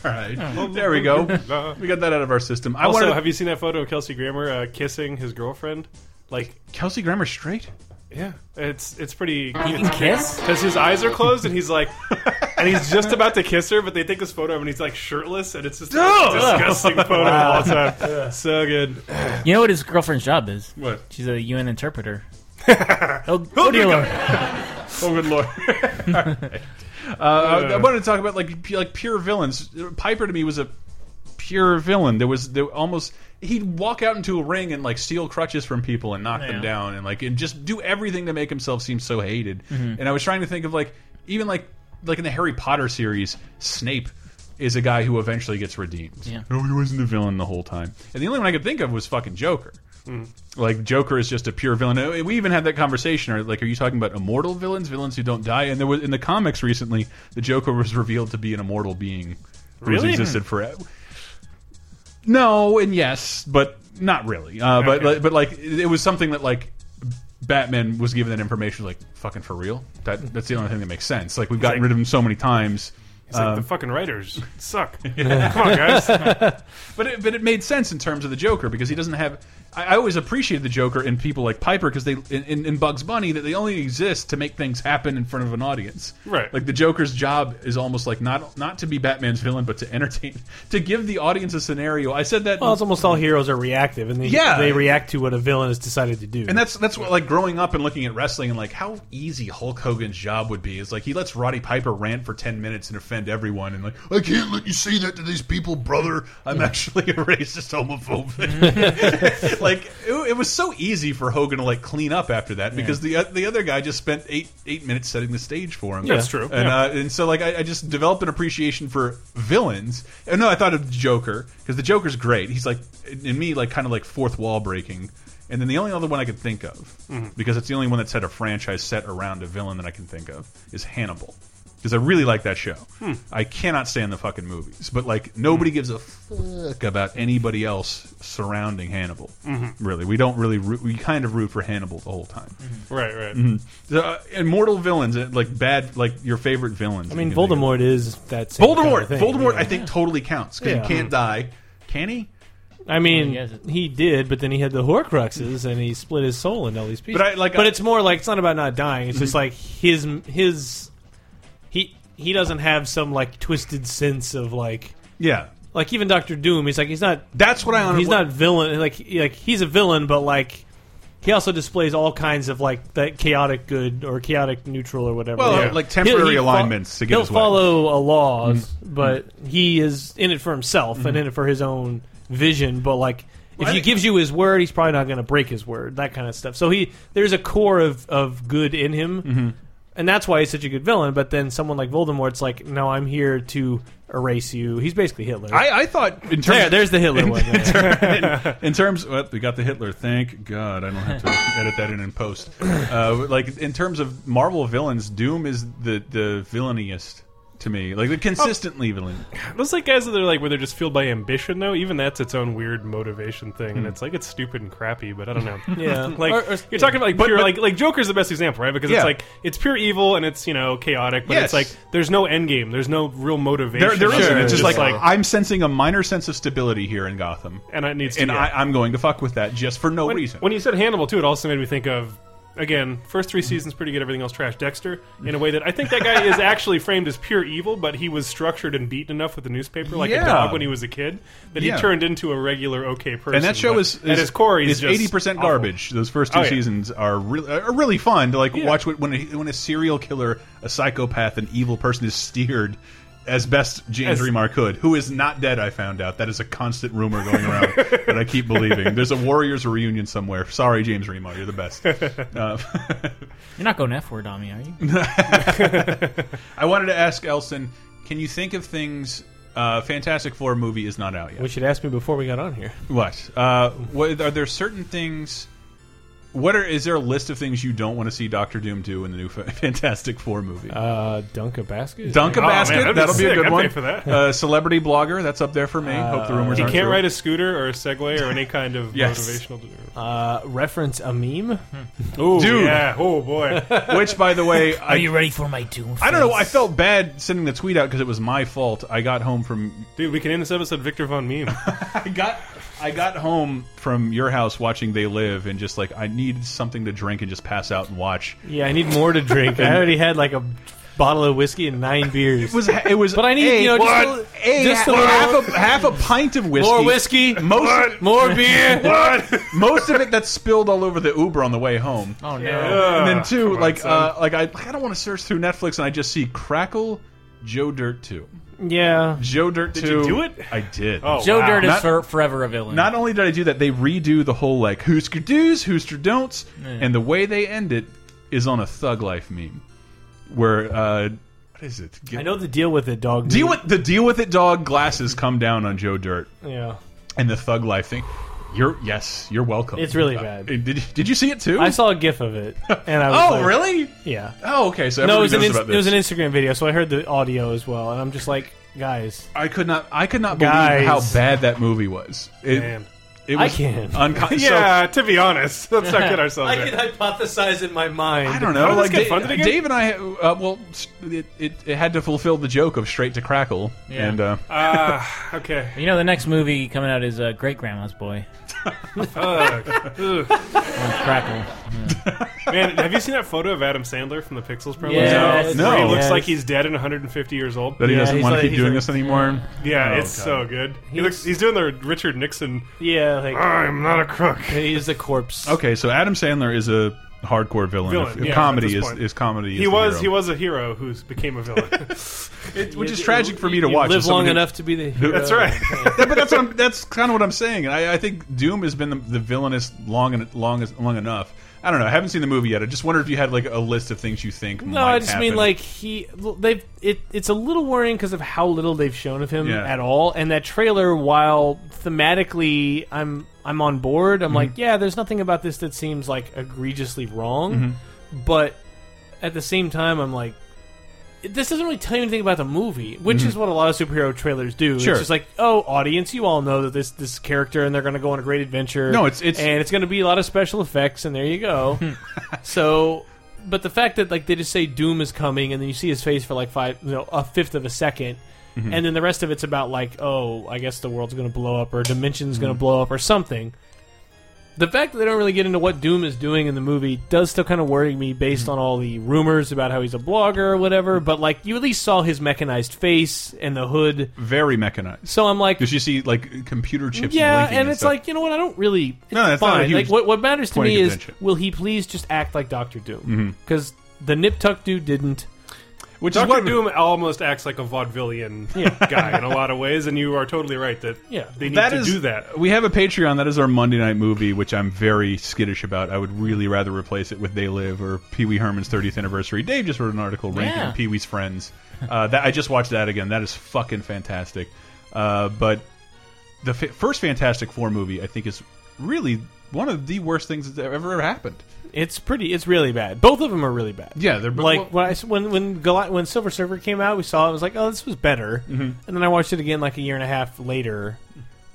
Speaker 2: All right, there we go. We got that out of our system. I
Speaker 4: Also,
Speaker 2: wanted
Speaker 4: have you seen that photo of Kelsey Grammer uh, kissing his girlfriend? Like,
Speaker 2: Kelsey Grammer straight.
Speaker 4: yeah, it's it's pretty.
Speaker 5: You can kiss.
Speaker 4: Because his eyes are closed and he's like, and he's just about to kiss her, but they take this photo of him and he's like shirtless and it's just the most disgusting photo of all time. So good.
Speaker 5: You know what his girlfriend's job is?
Speaker 2: What?
Speaker 5: She's a UN interpreter. oh, oh dear Lord.
Speaker 2: Oh good lord! uh, I wanted to talk about like pu- like pure villains. Piper to me was a pure villain. There was there almost he'd walk out into a ring and like steal crutches from people and knock them
Speaker 5: Yeah.
Speaker 2: down and like and just do everything to make himself seem so hated.
Speaker 5: Mm-hmm.
Speaker 2: And I was trying to think of like even like like in the Harry Potter series, Snape is a guy who eventually gets redeemed.
Speaker 5: Yeah.
Speaker 2: No, he wasn't a villain the whole time. And the only one I could think of was fucking Joker. Like Joker is just a pure villain. Uh, We even had that conversation. Or like, are you talking about immortal villains, villains who don't die? And there was in the comics recently, the Joker was revealed to be an immortal being who's
Speaker 4: Really?
Speaker 2: existed forever. No, and yes, but not really. Uh, But
Speaker 4: Okay.
Speaker 2: like- but like, it was something that like Batman was given that information. Like, fucking for real? That that's the only thing that makes sense. Like, we've gotten
Speaker 4: like-
Speaker 2: rid of him so many times.
Speaker 4: It's like the fucking writers suck. Come on, guys.
Speaker 2: But it, but it made sense in terms of the Joker because he doesn't have. I, I always appreciated the Joker in people like Piper because they in- in, in Bugs Bunny that they only exist to make things happen in front of an audience.
Speaker 4: Right.
Speaker 2: Like the Joker's job is almost like not not to be Batman's villain, but to entertain, to give the audience a scenario. I said that.
Speaker 3: Well, it's almost all heroes are reactive, and they
Speaker 2: Yeah.
Speaker 3: they react to what a villain has decided to do.
Speaker 2: and that's that's what like growing up and looking at wrestling and like how easy Hulk Hogan's job would be is like he lets Roddy Piper rant for ten minutes and offend everyone and like I can't let you say that to these people, brother. I'm actually a racist homophobe. like it, it was so easy for Hogan to like clean up after that because the the other guy just spent eight eight minutes setting the stage for him.
Speaker 4: That's true.
Speaker 2: And
Speaker 4: Yeah.
Speaker 2: uh, and so like I, I just developed an appreciation for villains. And no, I thought of the Joker because the Joker's great. He's like in me like kind of like fourth wall breaking. And then the only other one I could think of
Speaker 4: Mm-hmm.
Speaker 2: because it's the only one that's had a franchise set around a villain that I can think of is Hannibal. Because I really like that show.
Speaker 4: Hmm.
Speaker 2: I cannot stand the fucking movies, but like nobody gives a fuck about anybody else surrounding Hannibal.
Speaker 4: Mm-hmm.
Speaker 2: Really, we don't really root, we kind of root for Hannibal the whole time.
Speaker 4: Right, right.
Speaker 2: The, uh, immortal villains, uh, like bad, like your favorite villains.
Speaker 3: I mean, Voldemort is that same
Speaker 2: Voldemort.
Speaker 3: kind of thing,
Speaker 2: Voldemort,
Speaker 3: yeah.
Speaker 2: I think totally counts because
Speaker 3: Yeah.
Speaker 2: he can't die. Can he?
Speaker 3: I mean,
Speaker 5: I guess it-
Speaker 3: he did, but then he had the Horcruxes, and he split his soul into all these pieces.
Speaker 2: But I- like,
Speaker 3: but
Speaker 2: I- Mm-hmm.
Speaker 3: it's more like it's not about not dying. It's just like his his he he doesn't have some like twisted sense of like
Speaker 2: Yeah,
Speaker 3: like even Doctor Doom. He's like he's not
Speaker 2: that's what I. honor-
Speaker 3: he's not villain. Like he- like he's a villain, but like. He also displays all kinds of like that chaotic good or chaotic neutral or whatever.
Speaker 2: Well,
Speaker 3: Yeah.
Speaker 2: like temporary
Speaker 3: He'll- he fo-
Speaker 2: alignments to get
Speaker 3: He'll
Speaker 2: his way.
Speaker 3: follow a laws, but he is in it for himself and in it for his own vision. But like, if
Speaker 2: I
Speaker 3: he
Speaker 2: think-
Speaker 3: gives you his word, he's probably not going to break his word. That kind of stuff. So he there's a core of of good in him. and that's why he's such a good villain. But then someone like Voldemort's like, no, I'm here to erase you. He's basically Hitler.
Speaker 2: I, I thought in terms
Speaker 3: there, there's the Hitler one. there.
Speaker 2: in terms well, we got the Hitler. Thank God, I don't have to edit that in in post. Uh, like in terms of Marvel villains, Doom is the the villainiest to me. Like the consistently villain.
Speaker 4: Those like guys that are like where they're just fueled by ambition though. Even that's its own weird motivation thing,
Speaker 2: Hmm.
Speaker 4: and it's like it's stupid and crappy. But I don't know.
Speaker 3: Yeah.
Speaker 4: like
Speaker 3: Or- or-
Speaker 4: you're talking about like pure
Speaker 2: but-
Speaker 4: like like Joker's the best example, right? Because
Speaker 2: Yeah.
Speaker 4: it's like it's pure evil and it's you know chaotic, but
Speaker 2: Yes.
Speaker 4: it's like there's no end game. There's no real motivation.
Speaker 2: There, there
Speaker 4: Sure.
Speaker 2: not It's just like,
Speaker 4: like
Speaker 2: I'm sensing a minor sense of stability here in Gotham,
Speaker 4: and it needs to.
Speaker 2: and
Speaker 4: yeah.
Speaker 2: I, I'm going to fuck with that just for no
Speaker 4: when,
Speaker 2: reason.
Speaker 4: when you said Hannibal too, it also made me think of again first three seasons pretty good, everything else trash. Dexter in a way that I think that guy is actually framed as pure evil, but he was structured and beaten enough with the newspaper like
Speaker 2: Yeah.
Speaker 4: a dog when he was a kid that
Speaker 2: Yeah.
Speaker 4: he turned into a regular okay person.
Speaker 2: and that show
Speaker 4: but
Speaker 2: is,
Speaker 4: at his core he's
Speaker 2: is
Speaker 4: just
Speaker 2: eighty percent
Speaker 4: awful.
Speaker 2: garbage. Those first two
Speaker 4: Oh, yeah.
Speaker 2: seasons are really are really fun to like watch when when a, when a serial killer, a psychopath, an evil person is steered as best James
Speaker 4: As-
Speaker 2: Remar could, who is not dead. I found out that is a constant rumor going around that I keep believing. There's a Warriors reunion somewhere. Sorry, James Remar, you're the best. Uh,
Speaker 5: You're not going F word on me, are you?
Speaker 2: I wanted to ask Elson, can you think of things? Uh, Fantastic Four movie is not out yet.
Speaker 3: Which should ask me before we got on here.
Speaker 2: What? Uh, what are there certain things? What are is there a list of things you don't want to see Doctor Doom do in the new Fa- Fantastic Four movie?
Speaker 3: Uh, dunk a basket.
Speaker 2: Dunk a
Speaker 4: Oh, man,
Speaker 2: basket.
Speaker 4: that'd be
Speaker 2: That'll be a
Speaker 4: sick.
Speaker 2: good
Speaker 4: I'd
Speaker 2: one.
Speaker 4: pay for that.
Speaker 2: Uh, celebrity blogger. That's up there for me. Hope the rumors
Speaker 4: He
Speaker 2: aren't
Speaker 4: can't
Speaker 2: true.
Speaker 4: ride a scooter or a Segway or any kind of
Speaker 2: Yes.
Speaker 4: motivational.
Speaker 3: Uh, reference a meme.
Speaker 4: Ooh,
Speaker 2: Dude.
Speaker 4: yeah. Oh boy.
Speaker 2: Which, by the way,
Speaker 5: Are
Speaker 2: I,
Speaker 5: you ready for my doom?
Speaker 2: I don't know. I
Speaker 5: face?
Speaker 2: felt bad sending the tweet out because it was my fault. I got home from
Speaker 4: Dude, we can end this episode Victor Von Meme.
Speaker 2: I got I got home from your house watching They Live and just like I need something to drink and just pass out and watch.
Speaker 3: Yeah, I need more to drink. I already had like a bottle of whiskey and nine beers.
Speaker 2: It was it was. But
Speaker 3: I need, you know, just a little-
Speaker 2: a,
Speaker 3: just a
Speaker 2: half a half a pint of whiskey.
Speaker 3: more whiskey,
Speaker 2: Most
Speaker 3: more beer.
Speaker 2: most of it that spilled all over the Uber on the way home.
Speaker 5: Oh no.
Speaker 2: and then two, like uh, like I like, I don't want to search through Netflix and I just see Crackle, Joe Dirt two,
Speaker 3: Yeah,
Speaker 2: Joe Dirt two. Did
Speaker 4: you do it?
Speaker 2: I did.
Speaker 4: Oh,
Speaker 5: Joe
Speaker 4: wow.
Speaker 5: Dirt is
Speaker 2: Not-
Speaker 5: for, forever a villain.
Speaker 2: Not only did I do that, they redo the whole like Hoosker do's, Hoosker don'ts, and the way they end it is on a Thug Life meme, where uh, what is it?
Speaker 3: I know the deal with it, dog.
Speaker 2: deal with the deal with it. Dog glasses come down on Joe Dirt
Speaker 3: Yeah,
Speaker 2: and the Thug Life thing. You're yes, you're welcome.
Speaker 3: It's really
Speaker 2: Uh,
Speaker 3: bad.
Speaker 2: did did you see it too?
Speaker 3: I saw a gif of it, and I was
Speaker 2: Oh
Speaker 3: like,
Speaker 2: really?
Speaker 3: Yeah.
Speaker 2: Oh okay. So
Speaker 3: No,
Speaker 2: everybody
Speaker 3: it was, an
Speaker 2: knows
Speaker 3: ins-
Speaker 2: about
Speaker 3: it was
Speaker 2: this.
Speaker 3: an Instagram video, so I heard the audio as well, and I'm just like, guys,
Speaker 2: I could not. I could not believe
Speaker 3: Guys.
Speaker 2: how bad that movie was. It,
Speaker 4: Man.
Speaker 2: it
Speaker 3: I
Speaker 2: was
Speaker 3: can.
Speaker 2: Unco- so-
Speaker 4: Yeah, to be honest, let's not kid ourselves.
Speaker 3: I
Speaker 4: here.
Speaker 3: can hypothesize in my mind.
Speaker 2: I don't know.
Speaker 4: did this
Speaker 2: Like
Speaker 4: get
Speaker 2: Da-
Speaker 4: funded again?
Speaker 2: Dave and I, uh, well, s- it, it, it had to fulfill the joke of straight to crackle,
Speaker 5: Yeah.
Speaker 2: and uh,
Speaker 4: Ah, okay.
Speaker 5: You know, the next movie coming out is uh, Great Grandma's Boy.
Speaker 4: Fuck. Ugh.
Speaker 5: Or Crackle.
Speaker 4: Man, have you seen that photo of Adam Sandler from the Pixels promo?
Speaker 5: Yeah,
Speaker 4: Where
Speaker 2: No.
Speaker 4: He
Speaker 2: no.
Speaker 4: looks
Speaker 3: Yes.
Speaker 4: like he's dead and 150 years old.
Speaker 2: that he
Speaker 3: Yeah,
Speaker 2: doesn't
Speaker 3: he's
Speaker 2: want
Speaker 3: like-
Speaker 2: to keep
Speaker 3: he's
Speaker 2: doing
Speaker 3: like-
Speaker 2: this anymore.
Speaker 4: Yeah,
Speaker 2: Oh,
Speaker 4: it's
Speaker 2: God.
Speaker 4: so good. He looks. He's doing the Richard Nixon.
Speaker 3: Yeah, like
Speaker 4: I'm not a crook.
Speaker 3: he's a corpse.
Speaker 2: Ah. Okay, so Adam Sandler is a hardcore villain.
Speaker 4: Villain,
Speaker 2: If- if
Speaker 4: yeah, at
Speaker 2: comedy
Speaker 4: this
Speaker 2: is,
Speaker 4: point.
Speaker 2: is comedy. is
Speaker 4: He
Speaker 2: the
Speaker 4: was. He
Speaker 2: hero.
Speaker 4: was a hero who became a villain.
Speaker 2: It- which is tragic for me to watch.
Speaker 3: Live
Speaker 2: as
Speaker 3: long
Speaker 2: someone who-
Speaker 3: enough to uh, be the. Hero.
Speaker 4: That's right.
Speaker 2: but that's what I'm, that's kind of what I'm saying. And I, I think Doom has been the, the villainous long and long as long enough. I don't know. I haven't seen the movie yet. I just wondered if you had like a list of things you think.
Speaker 3: No, I just mean like he. They've it. It's a little worrying because of how little they've shown of him
Speaker 2: Yeah.
Speaker 3: at all, and that trailer. While thematically, I'm I'm on board.
Speaker 2: Mm-hmm.
Speaker 3: I'm like, yeah, there's nothing about this that seems like egregiously wrong,
Speaker 2: Mm-hmm.
Speaker 3: but at the same time, I'm like. it- This doesn't really tell you anything about the movie, which is what a lot of superhero trailers do.
Speaker 2: Mm-hmm. Sure.
Speaker 3: It's just like, oh, audience, you all know that this this character and they're going to go on a great adventure.
Speaker 2: No, it's- it's-
Speaker 3: and it's going to be a lot of special effects, and there you go.
Speaker 2: Hmm.
Speaker 3: So, but the fact that like they just say Doom is coming, and then you see his face for like five, you know, a fifth of a 2nd
Speaker 2: Mm-hmm.
Speaker 3: and then the rest of it's about like, oh, I guess the world's gonna blow up, or dimension's
Speaker 2: Mm-hmm.
Speaker 3: gonna blow up, or something. The fact that they don't really get into what Doom is doing in the movie does still kind of worry me, based
Speaker 2: Mm-hmm.
Speaker 3: on all the rumors about how he's a blogger or whatever. But like, you at least saw his mechanized face and the hood,
Speaker 2: very mechanized.
Speaker 3: so I'm like,
Speaker 2: Because you see like computer chips.
Speaker 3: yeah,
Speaker 2: blinking
Speaker 3: and, it's
Speaker 2: stuff.
Speaker 3: like you know what? I don't really. It's
Speaker 2: No, it's not a
Speaker 3: fine.
Speaker 2: huge
Speaker 3: like what, what matters to
Speaker 2: point of
Speaker 3: me is
Speaker 2: contention. Mm-hmm.
Speaker 3: will he please just act like Doctor Doom? Because the Nip Tuck dude didn't.
Speaker 2: Which is
Speaker 4: Doctor
Speaker 2: what
Speaker 4: Doom almost acts like a vaudevillian guy in a lot of ways, and you are totally right that
Speaker 3: Yeah.
Speaker 4: they need
Speaker 2: That
Speaker 4: to
Speaker 2: is-
Speaker 4: do that.
Speaker 2: We have a Patreon. That is our Monday night movie, which I'm very skittish about. I would really rather replace it with They Live or Pee Wee Herman's 30th anniversary. Dave just wrote an article ranking
Speaker 5: Yeah.
Speaker 2: Pee Wee's friends. Uh, that I just watched that again. That is fucking fantastic. Uh, but the fa first Fantastic Four movie, I think, is really one of the worst things that ever, ever happened.
Speaker 3: It's pretty. It's really bad. Both of them are really bad.
Speaker 2: Yeah, they're
Speaker 3: Like when I s when when Gal- when Silver Surfer came out, we saw it. I was like, oh, this was better.
Speaker 2: Mm-hmm.
Speaker 3: And then I watched it again like a year and a half later,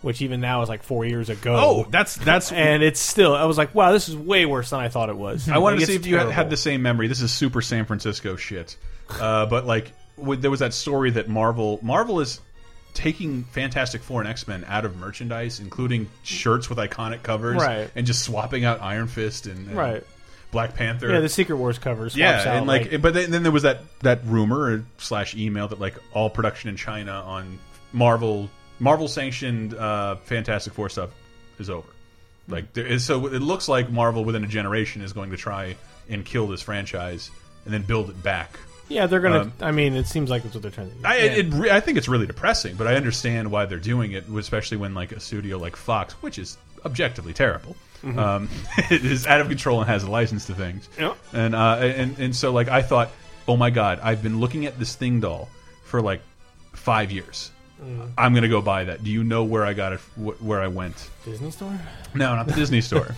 Speaker 3: which even now is like four years ago.
Speaker 2: oh, that's that's.
Speaker 3: and it's still. I was like, wow, this is way worse than I thought it was.
Speaker 2: I wanted to
Speaker 3: Like,
Speaker 2: see
Speaker 3: it's
Speaker 2: if you had,
Speaker 3: terrible.
Speaker 2: had the same memory. This is super San Francisco shit. Uh, but like, w there was that story that Marvel Marvel is taking Fantastic Four and X Men out of merchandise, including shirts with iconic covers,
Speaker 3: Right.
Speaker 2: and just swapping out Iron Fist and, and
Speaker 3: Right.
Speaker 2: Black Panther.
Speaker 3: yeah the Secret Wars covers.
Speaker 2: Yeah, and like, but then, then there was that that rumor slash email that like all production in China on Marvel Marvel sanctioned uh, Fantastic Four stuff is over. Like, there is, so it looks like Marvel within a generation is going to try and kill this franchise and then build it back.
Speaker 3: yeah, they're gonna.
Speaker 2: um,
Speaker 3: I mean, it seems like that's what they're trying to do.
Speaker 2: I it, re I think it's really depressing, but I understand why they're doing it, especially when like a studio like Fox, which is objectively terrible, um, is out of control and has a license to things.
Speaker 4: Yep.
Speaker 2: And uh, and and so like I thought, oh my god, I've been looking at this thing doll for like five years.
Speaker 3: Mm.
Speaker 2: I'm gonna go buy that. Do you know where I got it? Wh where I went?
Speaker 3: Disney store,
Speaker 2: No, not the Disney store.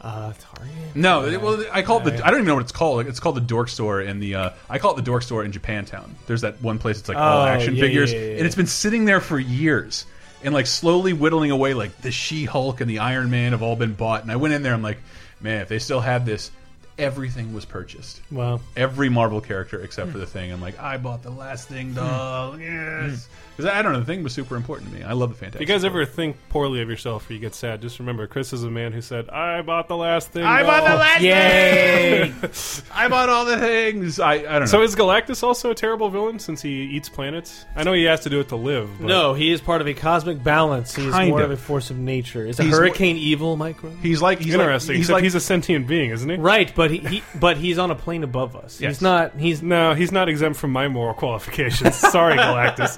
Speaker 3: uh, Target.
Speaker 2: No, it- well, I call it the. I don't even know what it's called. It's called the Dork Store in the. Uh, I call it the Dork Store in Japantown. There's that one place. It's like all
Speaker 3: Oh,
Speaker 2: action
Speaker 3: yeah,
Speaker 2: figures,
Speaker 3: yeah, yeah, yeah.
Speaker 2: and it's been sitting there for years, and like slowly whittling away. Like the She Hulk and the Iron Man have all been bought, and I went in there. I'm like, man, if they still had this, everything was purchased.
Speaker 3: Wow.
Speaker 2: Every Marvel character except for the Thing. I'm like, I bought the last Thing doll. Yes, because I don't know. The Thing was super important to me. I love the Fantastic.
Speaker 4: If you guys
Speaker 2: Four.
Speaker 4: ever think poorly of yourself or you get sad, just remember Chris is a man who said, "I bought the last thing."
Speaker 2: I bought the
Speaker 4: doll."
Speaker 2: last
Speaker 5: Yay!
Speaker 2: thing. I bought all the things. I, I don't know.
Speaker 4: So is Galactus also a terrible villain since he eats planets? I know he has to do it to live. But
Speaker 3: No, he is part of a cosmic balance. He is
Speaker 2: Kind
Speaker 3: more
Speaker 2: of.
Speaker 3: of. a force of nature. Is a
Speaker 2: He's
Speaker 3: hurricane evil, Micro?
Speaker 2: He's like he's
Speaker 4: interesting.
Speaker 2: Like, he's
Speaker 4: except
Speaker 2: like
Speaker 4: he's a sentient being, isn't he?
Speaker 3: Right, but he, he but he's on a plane above us.
Speaker 2: Yes.
Speaker 3: He's not. He's
Speaker 4: No, he's not exempt from my moral qualifications. Sorry, Galactus.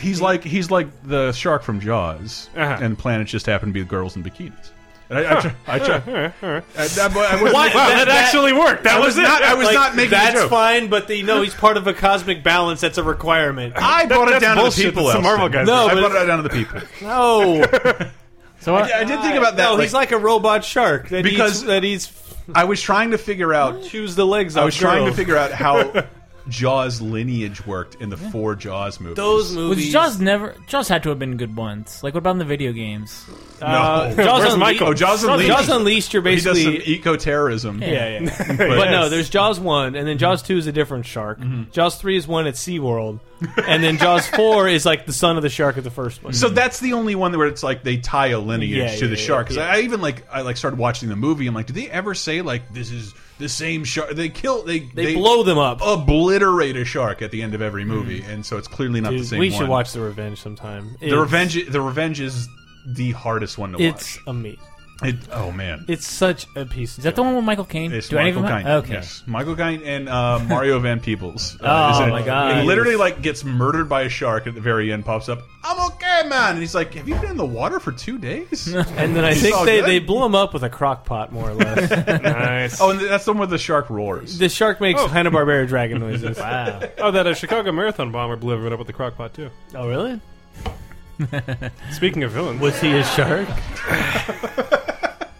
Speaker 2: he's like he's like the shark from Jaws,
Speaker 4: Uh-huh.
Speaker 2: and planets just happen to be girls in bikinis. And I, I, tr- I, tr- I, I, I was,
Speaker 3: What?
Speaker 2: Wow,
Speaker 4: That,
Speaker 3: That-
Speaker 4: actually worked. That
Speaker 2: I was
Speaker 4: was,
Speaker 2: not. I was
Speaker 3: like,
Speaker 2: not making a
Speaker 3: that's
Speaker 2: joke.
Speaker 3: fine, but the no, he's part of a cosmic balance. That's a requirement.
Speaker 2: I brought it
Speaker 4: that's
Speaker 2: down to the
Speaker 4: bullshit.
Speaker 2: people.
Speaker 4: That's
Speaker 2: Elston.
Speaker 4: the Marvel guys.
Speaker 3: No,
Speaker 2: I
Speaker 3: but-
Speaker 2: brought it down to the people.
Speaker 3: no,
Speaker 5: So
Speaker 2: I, I did think about that.
Speaker 3: no,
Speaker 2: like,
Speaker 3: he's like a robot shark that
Speaker 2: Because-
Speaker 3: because eats, that he's
Speaker 2: I was trying to figure out.
Speaker 3: chews the legs.
Speaker 2: I
Speaker 3: off
Speaker 2: was trying to
Speaker 3: girls.
Speaker 2: figure out how Jaws lineage worked in the four Jaws movies.
Speaker 3: those movies.
Speaker 5: Was Jaws never? Jaws had to have been good once. Like, what about in the video games?
Speaker 3: uh,
Speaker 2: No.
Speaker 3: Jaws
Speaker 4: Where's
Speaker 3: Unle-
Speaker 4: Michael?
Speaker 2: Oh, Jaws Unleashed.
Speaker 3: Jaws Unleashed. You're
Speaker 2: he does some e-
Speaker 3: basically
Speaker 2: eco terrorism.
Speaker 3: yeah, yeah.
Speaker 2: But,
Speaker 3: But no, there's Jaws one, and then Jaws
Speaker 2: Mm-hmm.
Speaker 3: two is a different shark. Jaws three is one at SeaWorld, and then Jaws four is like the son of the shark of the first one.
Speaker 2: So that's the only one where it's like they tie a lineage
Speaker 3: Yeah,
Speaker 2: to
Speaker 3: yeah,
Speaker 2: the
Speaker 3: yeah,
Speaker 2: shark. Because
Speaker 3: yeah.
Speaker 2: I even like I like started watching the movie. I'm like, do they ever say like this is the same shark? They kill they Oh,
Speaker 3: they, blow them up.
Speaker 2: obliterate a shark at the end of every movie, and so it's clearly not the
Speaker 3: Dude,
Speaker 2: same.
Speaker 3: we should
Speaker 2: one.
Speaker 3: watch The Revenge sometime.
Speaker 2: the revenge. The revenge is the hardest one to
Speaker 3: It's
Speaker 2: watch.
Speaker 3: amazing.
Speaker 2: It, oh man,
Speaker 3: It's such a piece.
Speaker 5: Is that the one with Michael Caine?
Speaker 2: It's
Speaker 5: Do
Speaker 2: Michael
Speaker 5: I
Speaker 2: Caine.
Speaker 5: even? Okay.
Speaker 2: Yes. Michael Caine and uh, Mario Van Peebles. Uh,
Speaker 5: Oh,
Speaker 2: is in it.
Speaker 5: my God.
Speaker 2: He literally like gets murdered by a shark at the very end. Pops up. I'm okay, man. And he's like, Have you been in the water for two days?
Speaker 3: And then I
Speaker 2: It's all
Speaker 3: think they,
Speaker 2: good.
Speaker 3: they blew him up with a crock pot, more or less.
Speaker 4: nice.
Speaker 2: Oh,
Speaker 4: Oh,
Speaker 2: and that's the one where the shark roars.
Speaker 3: the shark makes
Speaker 2: Oh.
Speaker 3: Hanna Barbera dragon noises.
Speaker 5: Wow.
Speaker 4: Oh, that a Chicago Marathon bomber blew everyone up with the crockpot too.
Speaker 3: Oh, really?
Speaker 4: Speaking of villains,
Speaker 3: Was he a shark?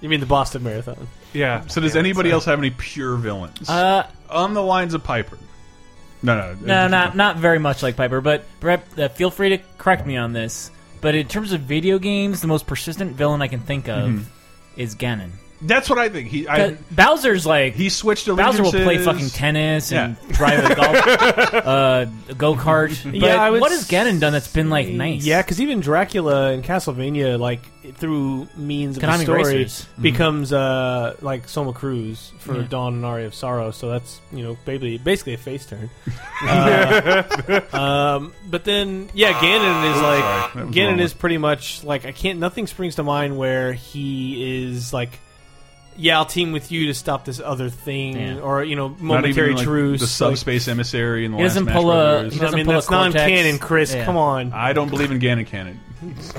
Speaker 3: you mean the Boston Marathon?
Speaker 4: yeah.
Speaker 2: So does anybody else have any pure villains
Speaker 5: Uh,
Speaker 2: on the lines of Piper? No, no,
Speaker 5: no, not not very much like Piper, but Brett, uh, feel free to correct me on this. But in terms of video games, the most persistent villain I can think of
Speaker 3: Mm-hmm.
Speaker 5: is Ganon.
Speaker 2: That's what I think. He
Speaker 5: Uh,
Speaker 2: I,
Speaker 5: Bowser's like
Speaker 2: he switched allegiances.
Speaker 5: Bowser will play fucking tennis and drive a golf uh, go kart. But
Speaker 3: Yeah, I would
Speaker 5: what has Ganon done that's been like
Speaker 3: say-
Speaker 5: nice?
Speaker 3: Yeah, because even Dracula in Castlevania, like through means of
Speaker 5: Konami
Speaker 3: the story,
Speaker 5: Racers. Mm-hmm.
Speaker 3: becomes uh, like Soma Cruz for Dawn and Aria of Sorrow. So that's you know basically basically a face turn. Uh, um, but then yeah, Ganon is
Speaker 2: That
Speaker 3: like
Speaker 2: was
Speaker 3: Ganon
Speaker 2: wrong.
Speaker 3: is pretty much like I can't. Nothing springs to mind where he is like yeah, I'll team with you to stop this other thing,
Speaker 5: Yeah.
Speaker 3: or you know,
Speaker 2: Not even,
Speaker 3: momentary
Speaker 2: like,
Speaker 3: truce.
Speaker 2: the
Speaker 3: like-
Speaker 2: subspace emissary in the
Speaker 5: He
Speaker 2: last
Speaker 5: doesn't
Speaker 2: Smash
Speaker 5: pull a-
Speaker 2: Brothers.
Speaker 5: he
Speaker 3: I
Speaker 5: doesn't
Speaker 3: mean,
Speaker 5: pull a
Speaker 3: that's non-canon,
Speaker 5: cortex.
Speaker 3: Chris.
Speaker 5: Yeah.
Speaker 3: Come on.
Speaker 2: I don't believe in Ganon canon.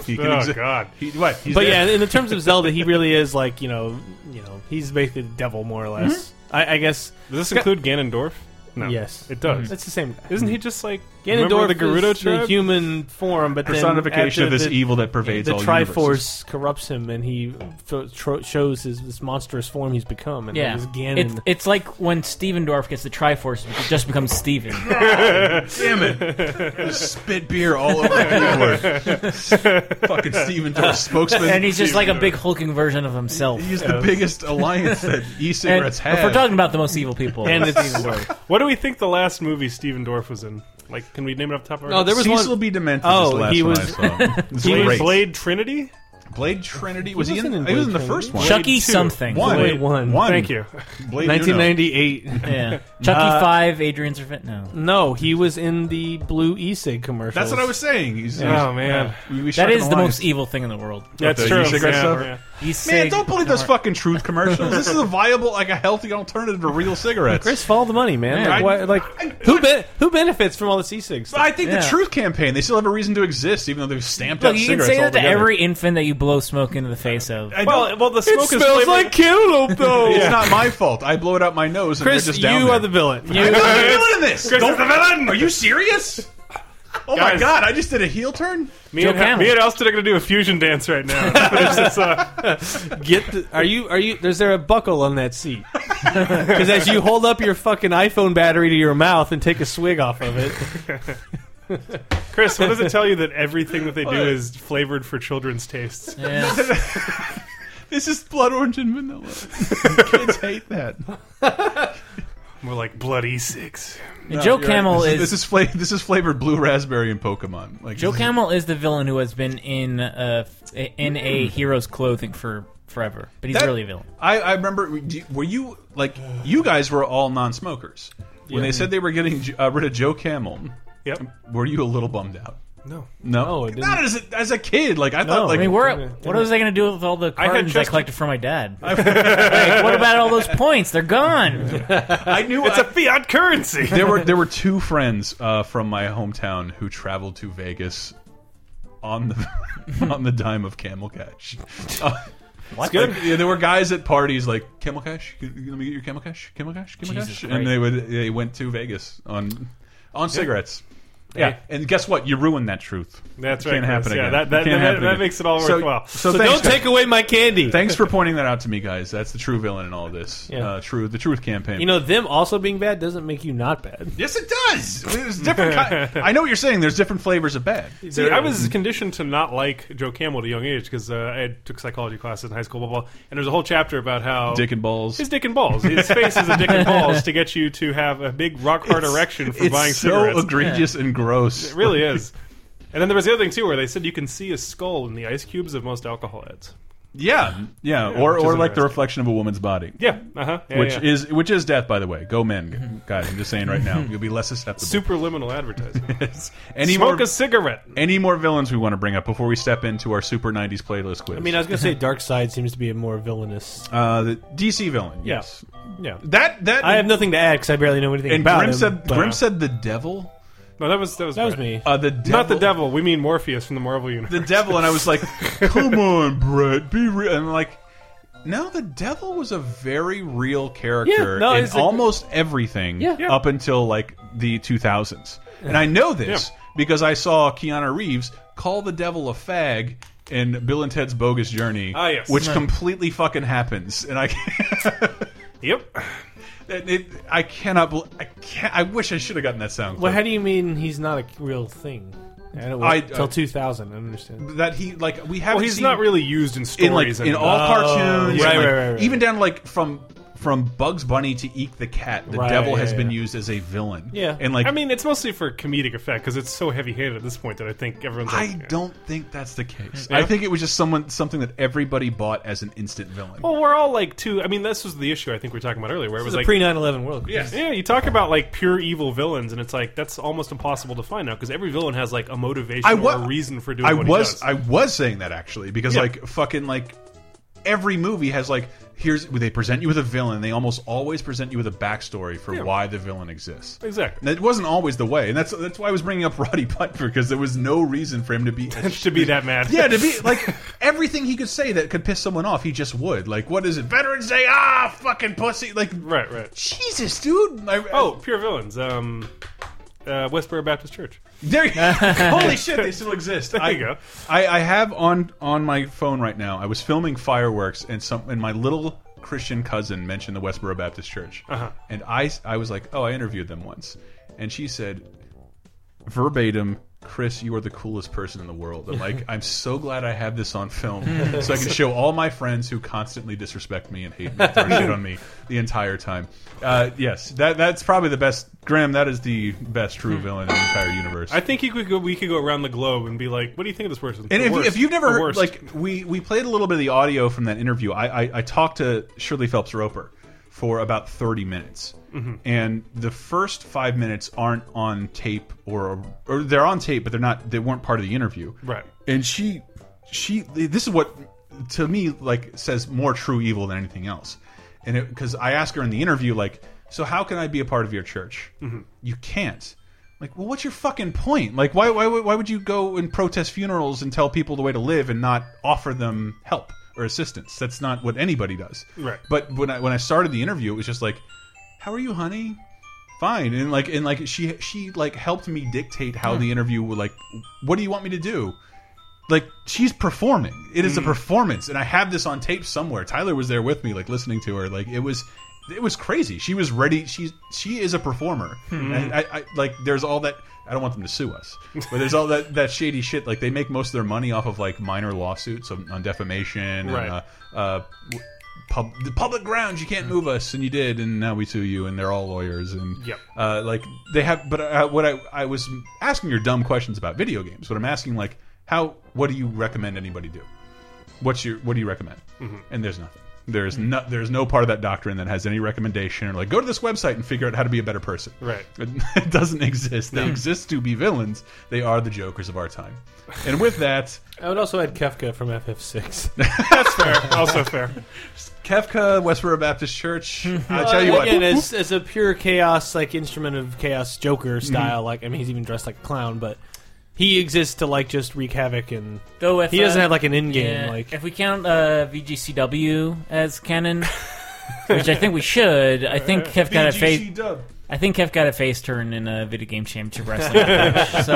Speaker 2: He can
Speaker 4: Oh,
Speaker 2: exi-
Speaker 4: God.
Speaker 2: He, what? He's
Speaker 3: but
Speaker 2: there.
Speaker 3: yeah, in the terms of Zelda, he really is like you know, you know, he's basically the devil more or
Speaker 5: Mm-hmm.
Speaker 3: less. I, I guess
Speaker 4: Does this include Ganondorf? No.
Speaker 3: Yes.
Speaker 4: It does.
Speaker 3: that's the same. guy.
Speaker 4: Isn't he just like
Speaker 3: Ganondorf
Speaker 4: remember the Gerudo
Speaker 3: is the
Speaker 4: tribe?
Speaker 3: human form, but then
Speaker 2: personification of
Speaker 3: after
Speaker 2: this
Speaker 3: the,
Speaker 2: evil that pervades
Speaker 3: The
Speaker 2: all
Speaker 3: Triforce
Speaker 2: universes.
Speaker 3: corrupts him, and he f- tro- shows his this monstrous form he's become. And
Speaker 5: Yeah,
Speaker 3: it was
Speaker 5: It-
Speaker 3: Ganon.
Speaker 5: it's like when Steven Dorff gets the Triforce, it just becomes Steven.
Speaker 2: Damn it! Just spit beer all over the keyboard. Fucking Steven Dorff spokesman.
Speaker 5: and he's just like a big hulking version of himself.
Speaker 2: He's the biggest alliance that
Speaker 5: And
Speaker 2: e-cigarettes
Speaker 5: if
Speaker 2: have.
Speaker 5: we're talking about the most evil people,
Speaker 3: and it's
Speaker 4: What do we think the last movie Steven Dorff was in? Like, can we name it off the top of our
Speaker 3: No,
Speaker 4: head?
Speaker 3: there was
Speaker 2: Cecil
Speaker 3: one.
Speaker 2: B. Demented.
Speaker 3: Oh,
Speaker 2: is the last
Speaker 3: he
Speaker 2: one
Speaker 3: was-
Speaker 2: I saw. It's
Speaker 4: Blade,
Speaker 2: great.
Speaker 4: Blade Trinity?
Speaker 2: Blade Trinity. Was he,
Speaker 3: wasn't
Speaker 2: in?
Speaker 3: in
Speaker 2: he was
Speaker 3: Blade
Speaker 2: in the
Speaker 3: Trinity.
Speaker 2: first one.
Speaker 5: Chucky
Speaker 4: two.
Speaker 5: something.
Speaker 2: one.
Speaker 3: Blade one.
Speaker 2: One.
Speaker 4: Thank you.
Speaker 2: Blade
Speaker 3: 1998.
Speaker 5: Yeah. Chucky
Speaker 2: Uh,
Speaker 5: Five, Adrian Servant. No,
Speaker 3: No, he was in the blue e-cig commercial.
Speaker 2: That's what I was saying. He's,
Speaker 4: Oh, man.
Speaker 2: we- we struck
Speaker 5: that
Speaker 2: an
Speaker 5: is the most
Speaker 2: alliance.
Speaker 5: evil thing in the world.
Speaker 4: That's
Speaker 2: the
Speaker 4: true.
Speaker 2: e-cigarette
Speaker 4: Yeah,
Speaker 2: stuff?
Speaker 4: yeah.
Speaker 5: He's
Speaker 2: Man,
Speaker 5: sick.
Speaker 2: don't believe those fucking truth commercials. This is a viable, like a healthy alternative to real cigarettes.
Speaker 3: Chris, follow the money, man.
Speaker 2: I-
Speaker 3: like, why, like who be- who benefits from all this e-cig
Speaker 2: But
Speaker 3: stuff?
Speaker 2: I think the
Speaker 5: Yeah.
Speaker 2: Truth Campaign, they still have a reason to exist, even though they've stamped
Speaker 5: Look,
Speaker 2: out
Speaker 5: you can
Speaker 2: cigarettes
Speaker 5: say that to
Speaker 2: altogether.
Speaker 5: every infant that you blow smoke into the face of.
Speaker 2: I don't-
Speaker 4: Well, well, the smoke is flavored-
Speaker 3: cantaloupe, though.
Speaker 2: it's not my fault. I blow it out my nose, and
Speaker 3: Chris,
Speaker 2: they're just
Speaker 3: you
Speaker 2: down
Speaker 3: are the
Speaker 2: there.
Speaker 3: villain. You,
Speaker 2: I'm the villain in this.
Speaker 4: Chris is the villain!
Speaker 2: Are you serious? Oh my
Speaker 4: Guys.
Speaker 2: god! I just did a heel turn.
Speaker 4: Me and,
Speaker 5: Joe Camel.
Speaker 4: me and Alston are going to do a fusion dance right now. to finish this up.
Speaker 3: get the, are you are you? Is there a buckle on that seat? Because as you hold up your fucking iPhone battery to your mouth and take a swig off of it,
Speaker 4: Chris, what does it tell you that everything that they do is flavored for children's tastes?
Speaker 5: Yeah.
Speaker 2: This is blood orange and vanilla. Kids hate that.
Speaker 4: More like bloody six.
Speaker 5: And Joe Camel
Speaker 2: this
Speaker 5: is,
Speaker 2: this is fla- this is flavored blue raspberry and Pokemon. Like
Speaker 5: Joe
Speaker 2: this is-
Speaker 5: Camel is the villain who has been in uh, in a hero's clothing for forever, but he's
Speaker 2: That-
Speaker 5: really a villain.
Speaker 2: I, I remember. do you- Were you like you guys were all non-smokers when they said they were getting uh, rid of Joe Camel?
Speaker 4: Yep.
Speaker 2: Were you a little bummed out?
Speaker 4: No.
Speaker 2: No,
Speaker 3: No, it didn't.
Speaker 2: not as a, as a kid. Like I thought, like
Speaker 5: I mean, we're, what was I going to do with all the
Speaker 4: had
Speaker 5: cartons I,
Speaker 4: just-
Speaker 5: collected from my dad? Like, what about all those points? They're gone.
Speaker 2: I knew
Speaker 4: It's
Speaker 2: I-
Speaker 4: a fiat currency!
Speaker 2: there were there were two friends uh, from my hometown who traveled to Vegas on the on the dime of camel cash. Uh,
Speaker 5: What?
Speaker 2: Like, yeah, there were guys at parties like camel cash. Let me get your camel cash, camel cash, camel
Speaker 5: Jesus
Speaker 2: cash,
Speaker 5: Christ.
Speaker 2: and they would they went to Vegas on on cigarettes. Yeah,
Speaker 4: Hey.
Speaker 2: and guess what? You ruined that truth.
Speaker 4: That's
Speaker 2: It
Speaker 4: right,
Speaker 2: Can't
Speaker 4: Chris.
Speaker 2: happen
Speaker 4: Yeah,
Speaker 2: again.
Speaker 4: that- that-
Speaker 2: It can't
Speaker 4: that-
Speaker 2: happen
Speaker 4: that
Speaker 2: again.
Speaker 4: makes it all
Speaker 2: so,
Speaker 4: worthwhile.
Speaker 2: So,
Speaker 3: so
Speaker 2: thanks,
Speaker 3: don't
Speaker 2: guys.
Speaker 3: take away my candy.
Speaker 2: Thanks for pointing that out to me, guys. That's the true villain in all this.
Speaker 3: Yeah.
Speaker 2: Uh, true, the truth campaign.
Speaker 3: you know, them also being bad doesn't make you not bad.
Speaker 2: Yes, it does. There's different. ki- I know what you're saying. There's different flavors of bad.
Speaker 4: See, I was conditioned to not like Joe Camel at a young age because uh, I had- took psychology classes in high school, blah, blah, blah. And there's a whole chapter about how.
Speaker 2: Dick and balls.
Speaker 4: His dick and balls. His face is a dick and balls to get you to have a big rock hard erection from
Speaker 2: it's
Speaker 4: buying
Speaker 2: so
Speaker 4: cigarettes.
Speaker 2: egregious and gross.
Speaker 4: It really is. And then there was the other thing too, where they said you can see a skull in the ice cubes of most alcohol ads.
Speaker 2: Yeah, yeah. or
Speaker 4: which
Speaker 2: or like
Speaker 4: is
Speaker 2: the
Speaker 4: interesting.
Speaker 2: reflection of a woman's body.
Speaker 4: Yeah, Mm-hmm. uh huh.
Speaker 2: Which is which is death, by the way. Go men, g- guys. I'm just saying right now, you'll be less susceptible.
Speaker 4: superliminal advertising.
Speaker 2: any
Speaker 4: Smoke
Speaker 2: more
Speaker 4: a cigarette.
Speaker 2: any more villains we want to bring up before we step into our super '90s playlist quiz?
Speaker 3: I mean, I was gonna say Dark Side seems to be a more villainous.
Speaker 2: uh, the DC villain. Yes,
Speaker 3: Yeah,
Speaker 2: that that
Speaker 3: I have nothing to add because I barely know anything
Speaker 2: And
Speaker 3: about
Speaker 2: Grimm
Speaker 3: him,
Speaker 2: said
Speaker 3: but-
Speaker 2: Grimm said the devil.
Speaker 4: No, that was that was
Speaker 3: that was
Speaker 4: Brett.
Speaker 3: me.
Speaker 2: Uh, the devil.
Speaker 4: Not the devil. We mean Morpheus from the Marvel universe.
Speaker 2: the devil, and I was like, "Come on, Brett, be real." And like, no, the devil was a very real character
Speaker 3: Yeah, no,
Speaker 2: in
Speaker 3: it's a-
Speaker 2: almost everything
Speaker 3: Yeah. Yeah.
Speaker 2: up until like the 2000s, and I know this
Speaker 4: Yeah.
Speaker 2: because I saw Keanu Reeves call the devil a fag. In Bill and Ted's Bogus Journey,
Speaker 4: Ah, yes.
Speaker 2: which completely fucking happens, and I,
Speaker 4: Yep.
Speaker 2: it, it, I cannot, bel- I can't, I wish I should have gotten that sound.
Speaker 3: Well,
Speaker 2: clip.
Speaker 3: how do you mean he's not a real thing? I don't
Speaker 2: I-
Speaker 3: until
Speaker 2: I-
Speaker 3: 2000. I understand.
Speaker 2: that he like we have.
Speaker 4: Well, he's not really used in stories. Uh,
Speaker 2: in like in
Speaker 4: and-
Speaker 2: all cartoons, and,
Speaker 3: right,
Speaker 2: like,
Speaker 3: right, right, right.
Speaker 2: even down to like from from Bugs Bunny to Eek the Cat, the
Speaker 3: Right,
Speaker 2: devil
Speaker 3: yeah,
Speaker 2: has been
Speaker 3: yeah.
Speaker 2: used as a villain.
Speaker 3: Yeah.
Speaker 2: and like
Speaker 4: I mean, it's mostly for comedic effect because it's so heavy-handed at this point that I think everyone's.
Speaker 2: I
Speaker 4: Like,
Speaker 2: don't think that's the case.
Speaker 4: Yeah.
Speaker 2: I think it was just someone something that everybody bought as an instant villain.
Speaker 4: Well, we're all like too. I mean, this was the issue I think we were talking about earlier, where it
Speaker 3: It
Speaker 4: was
Speaker 3: was a
Speaker 4: like
Speaker 3: pre 9 11 world.
Speaker 4: Yeah, yeah. You talk about like pure evil villains, and it's like that's almost impossible to find now because every villain has like a motivation
Speaker 2: I wa-
Speaker 4: or a reason for doing.
Speaker 2: I
Speaker 4: what
Speaker 2: was
Speaker 4: he
Speaker 2: I was saying that actually because
Speaker 4: Yeah.
Speaker 2: like fucking like every movie has like here's they present you with a villain. They almost always present you with a backstory for why the villain exists.
Speaker 4: Exactly.
Speaker 2: And it wasn't always the way, and that's that's why I was bringing up Roddy Piper because there was no reason for him to be a
Speaker 4: to be that mad.
Speaker 2: yeah, to be like everything he could say that could piss someone off, he just would. Like, what is it? Veterans Day? Ah, fucking pussy! Like,
Speaker 4: right, right.
Speaker 2: Jesus, dude! I-
Speaker 4: Oh, pure villains. Um, uh, Westboro Baptist Church.
Speaker 2: There you Holy shit, they still exist. I,
Speaker 4: you go.
Speaker 2: I, I have on on my phone right now. I was filming fireworks, and some and my little Christian cousin mentioned the Westboro Baptist Church, and I I was like, oh, I interviewed them once, and she said verbatim. Chris, you are the coolest person in the world. I'm like, I'm so glad I have this on film, so I can show all my friends who constantly disrespect me and hate me, and throw shit on me the entire time. Uh, yes, that that's probably the best. Graham, that is the best true villain in the entire universe.
Speaker 4: I think he could go, we could go around the globe and be like, what do you think of this person?
Speaker 2: And
Speaker 4: The
Speaker 2: if,
Speaker 4: worst.
Speaker 2: if you've never
Speaker 4: The
Speaker 2: heard,
Speaker 4: worst.
Speaker 2: like we we played a little bit of the audio from that interview. I I, I talked to Shirley Phelps Roper for about thirty minutes,
Speaker 4: Mm-hmm.
Speaker 2: and the first five minutes aren't on tape or or they're on tape, but they're not. They weren't part of the interview.
Speaker 4: Right.
Speaker 2: And she she this is what to me like says more true evil than anything else, and it because I asked her in the interview like, so how can I be a part of your church? You can't. Like, well, what's your fucking point? Like, why, why, why would you go and protest funerals and tell people the way to live and not offer them help or assistance? That's not what anybody does.
Speaker 4: Right.
Speaker 2: But when I when I started the interview, it was just like, "How are you, honey? Fine." And like and like she she like helped me dictate how the interview would like, "What do you want me to do?" Like she's performing. It is a performance, and I have this on tape somewhere. Tyler was there with me, like listening to her. Like it was. It was crazy. She was ready. She's she is a performer. And I, I like. There's all that. I don't want them to sue us, but there's all that that shady shit. Like they make most of their money off of like minor lawsuits on, on defamation.
Speaker 4: Right.
Speaker 2: And, uh, uh, pub, the public grounds. You can't move us, and you did, and now we sue you, and they're all lawyers, and
Speaker 4: Yep.
Speaker 2: uh, like they have. But uh, what I I was asking your dumb questions about video games, but I'm asking like how what do you recommend anybody do? What's your what do you recommend?
Speaker 4: Mm-hmm.
Speaker 2: And there's nothing. There's no there's no part of that doctrine that has any recommendation or like go to this website and figure out how to be a better person.
Speaker 4: Right.
Speaker 2: It, it doesn't exist. They exist to be villains. They are the jokers of our time. And with that.
Speaker 3: I would also add Kefka from FF6.
Speaker 4: fair. Also fair.
Speaker 2: Kefka, Westboro Baptist Church. I tell you what,
Speaker 3: Uh, again, as, as a pure chaos, like instrument of chaos, Joker
Speaker 2: Mhm.
Speaker 3: style. Like, I mean, he's even dressed like a clown, but he exists to like just wreak havoc, and
Speaker 5: Though if,
Speaker 3: he doesn't
Speaker 5: uh,
Speaker 3: have like an end game.
Speaker 5: yeah,
Speaker 3: like,
Speaker 5: if we count uh, VGCW as canon, which I think we should, I think Kev got a face.
Speaker 2: dub.
Speaker 5: I think Kev got a face turn in a video game championship wrestling. match. so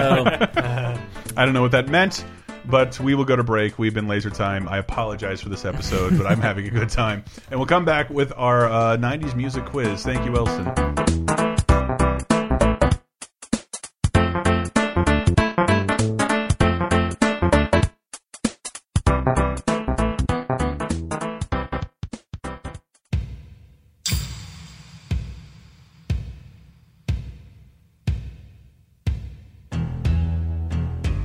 Speaker 2: I don't know what that meant, but we will go to break. We've been laser time. I apologize for this episode, but I'm having a good time. And we'll come back with our uh, 90s music quiz. Thank you, Elson.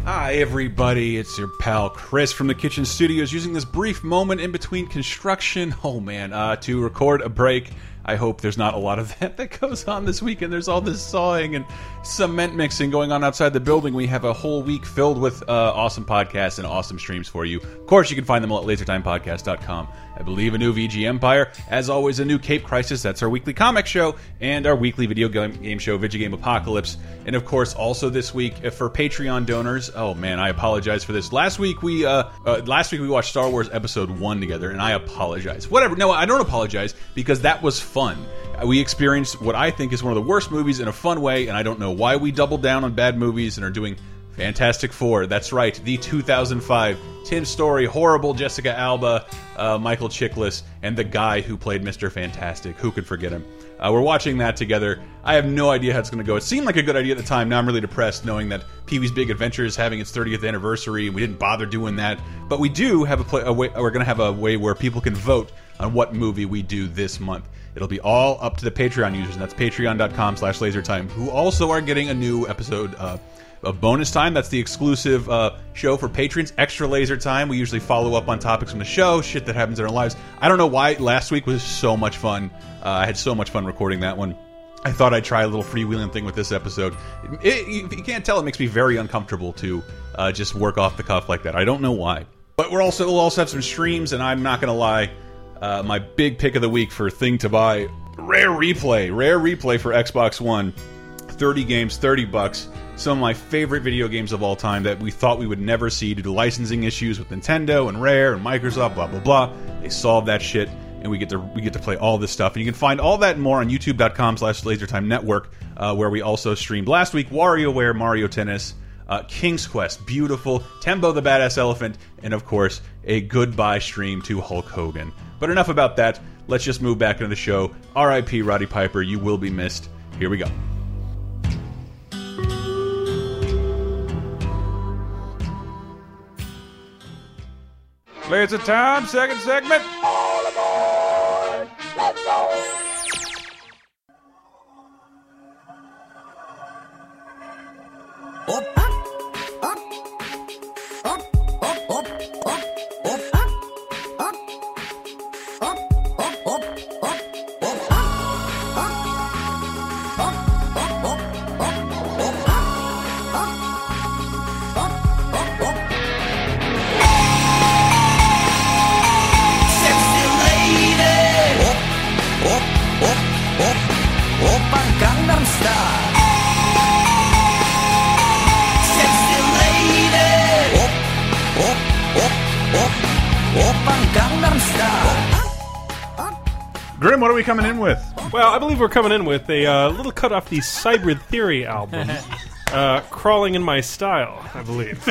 Speaker 2: Hi, everybody. It's your pal Chris from the Kitchen Studios using this brief moment in between construction, oh man, uh, to record a break. I hope there's not a lot of that that goes on this weekend. There's all this sawing and cement mixing going on outside the building. We have a whole week filled with uh, awesome podcasts and awesome streams for you. Of course, you can find them all at lasertimepodcast.com. I believe a new VG Empire. As always, a new Cape Crisis. That's our weekly comic show and our weekly video game, game show, Video Game Apocalypse. And of course, also this week uh, for Patreon donors. Oh man, I apologize for this. Last week we uh, uh, last week we watched Star Wars Episode One together, and I apologize. Whatever. No, I don't apologize because that was fun. Uh, We experienced what I think is one of the worst movies in a fun way, and I don't know why we doubled down on bad movies and are doing Fantastic Four. That's right, the 2005 Tim Story, horrible Jessica Alba, uh, Michael Chiklis, and the guy who played Mr. Fantastic. Who could forget him? Uh, we're watching that together. I have no idea how it's going to go. It seemed like a good idea at the time. Now I'm really depressed knowing that Pee Wee's Big Adventure is having its 30th anniversary, and we didn't bother doing that. But we do have a, play, a way. We're going to have a way where people can vote on what movie we do this month. It'll be all up to the Patreon users, and that's patreon.com slash lasertime, who also are getting a new episode uh, of bonus time. That's the exclusive uh, show for patrons. Extra laser time. We usually follow up on topics from the show, shit that happens in our lives. I don't know why last week was so much fun. Uh, I had so much fun recording that one. I thought I'd try a little freewheeling thing with this episode. It, you, you can't tell; it makes me very uncomfortable to uh, just work off the cuff like that. I don't know why. But we're also we'll also have some streams, and I'm not gonna lie, uh, my big pick of the week for thing to buy, Rare Replay, Rare Replay for Xbox One, 30 games, 30 bucks. Some of my favorite video games of all time that we thought we would never see due to licensing issues with Nintendo and Rare and Microsoft, blah blah blah. They solved that shit, and we get to we get to play all this stuff. And you can find all that and more on YouTube.com/slash LaserTime Network, uh, where we also streamed last week WarioWare, Mario Tennis uh, King's Quest, beautiful, Tembo the Badass Elephant, and of course, a goodbye stream to Hulk Hogan. But enough about that. Let's just move back into the show. R.I.P. Roddy Piper, you will be missed. Here we go. Laser time, second segment. Grim, what are we coming in with?
Speaker 4: Well, I believe we're coming in with a uh, little cut off the Cyber Theory album, uh, "Crawling in My Style," I believe.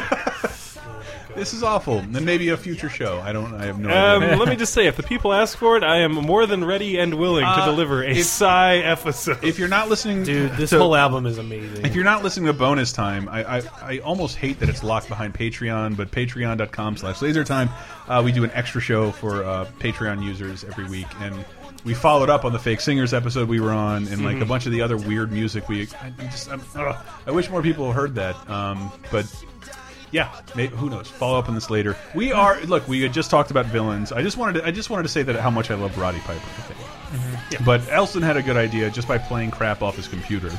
Speaker 2: This is awful. And maybe a future show. I don't. I have no idea.
Speaker 4: Um, let me just say, if the people ask for it, I am more than ready and willing
Speaker 2: Uh,
Speaker 4: to deliver a Psy episode.
Speaker 2: If you're not listening,
Speaker 3: Dude, this
Speaker 2: to-
Speaker 3: whole album is amazing.
Speaker 2: If you're not listening to bonus time, I, I, I almost hate that it's locked behind Patreon, but patreon.com slash lasertime. Uh, we do an extra show for uh, Patreon users every week, and we followed up on the Fake Singers episode we were on and like a bunch of the other weird music we. I, I'm just, I'm, ugh. I wish more people heard that, um, but. Yeah, may who knows? Follow up on this later. We are look. We had just talked about villains. I just wanted to. I just wanted to say that how much I love Roddy Piper. I think.
Speaker 3: Mm-hmm.
Speaker 2: But Elson had a good idea just by playing crap off his computer.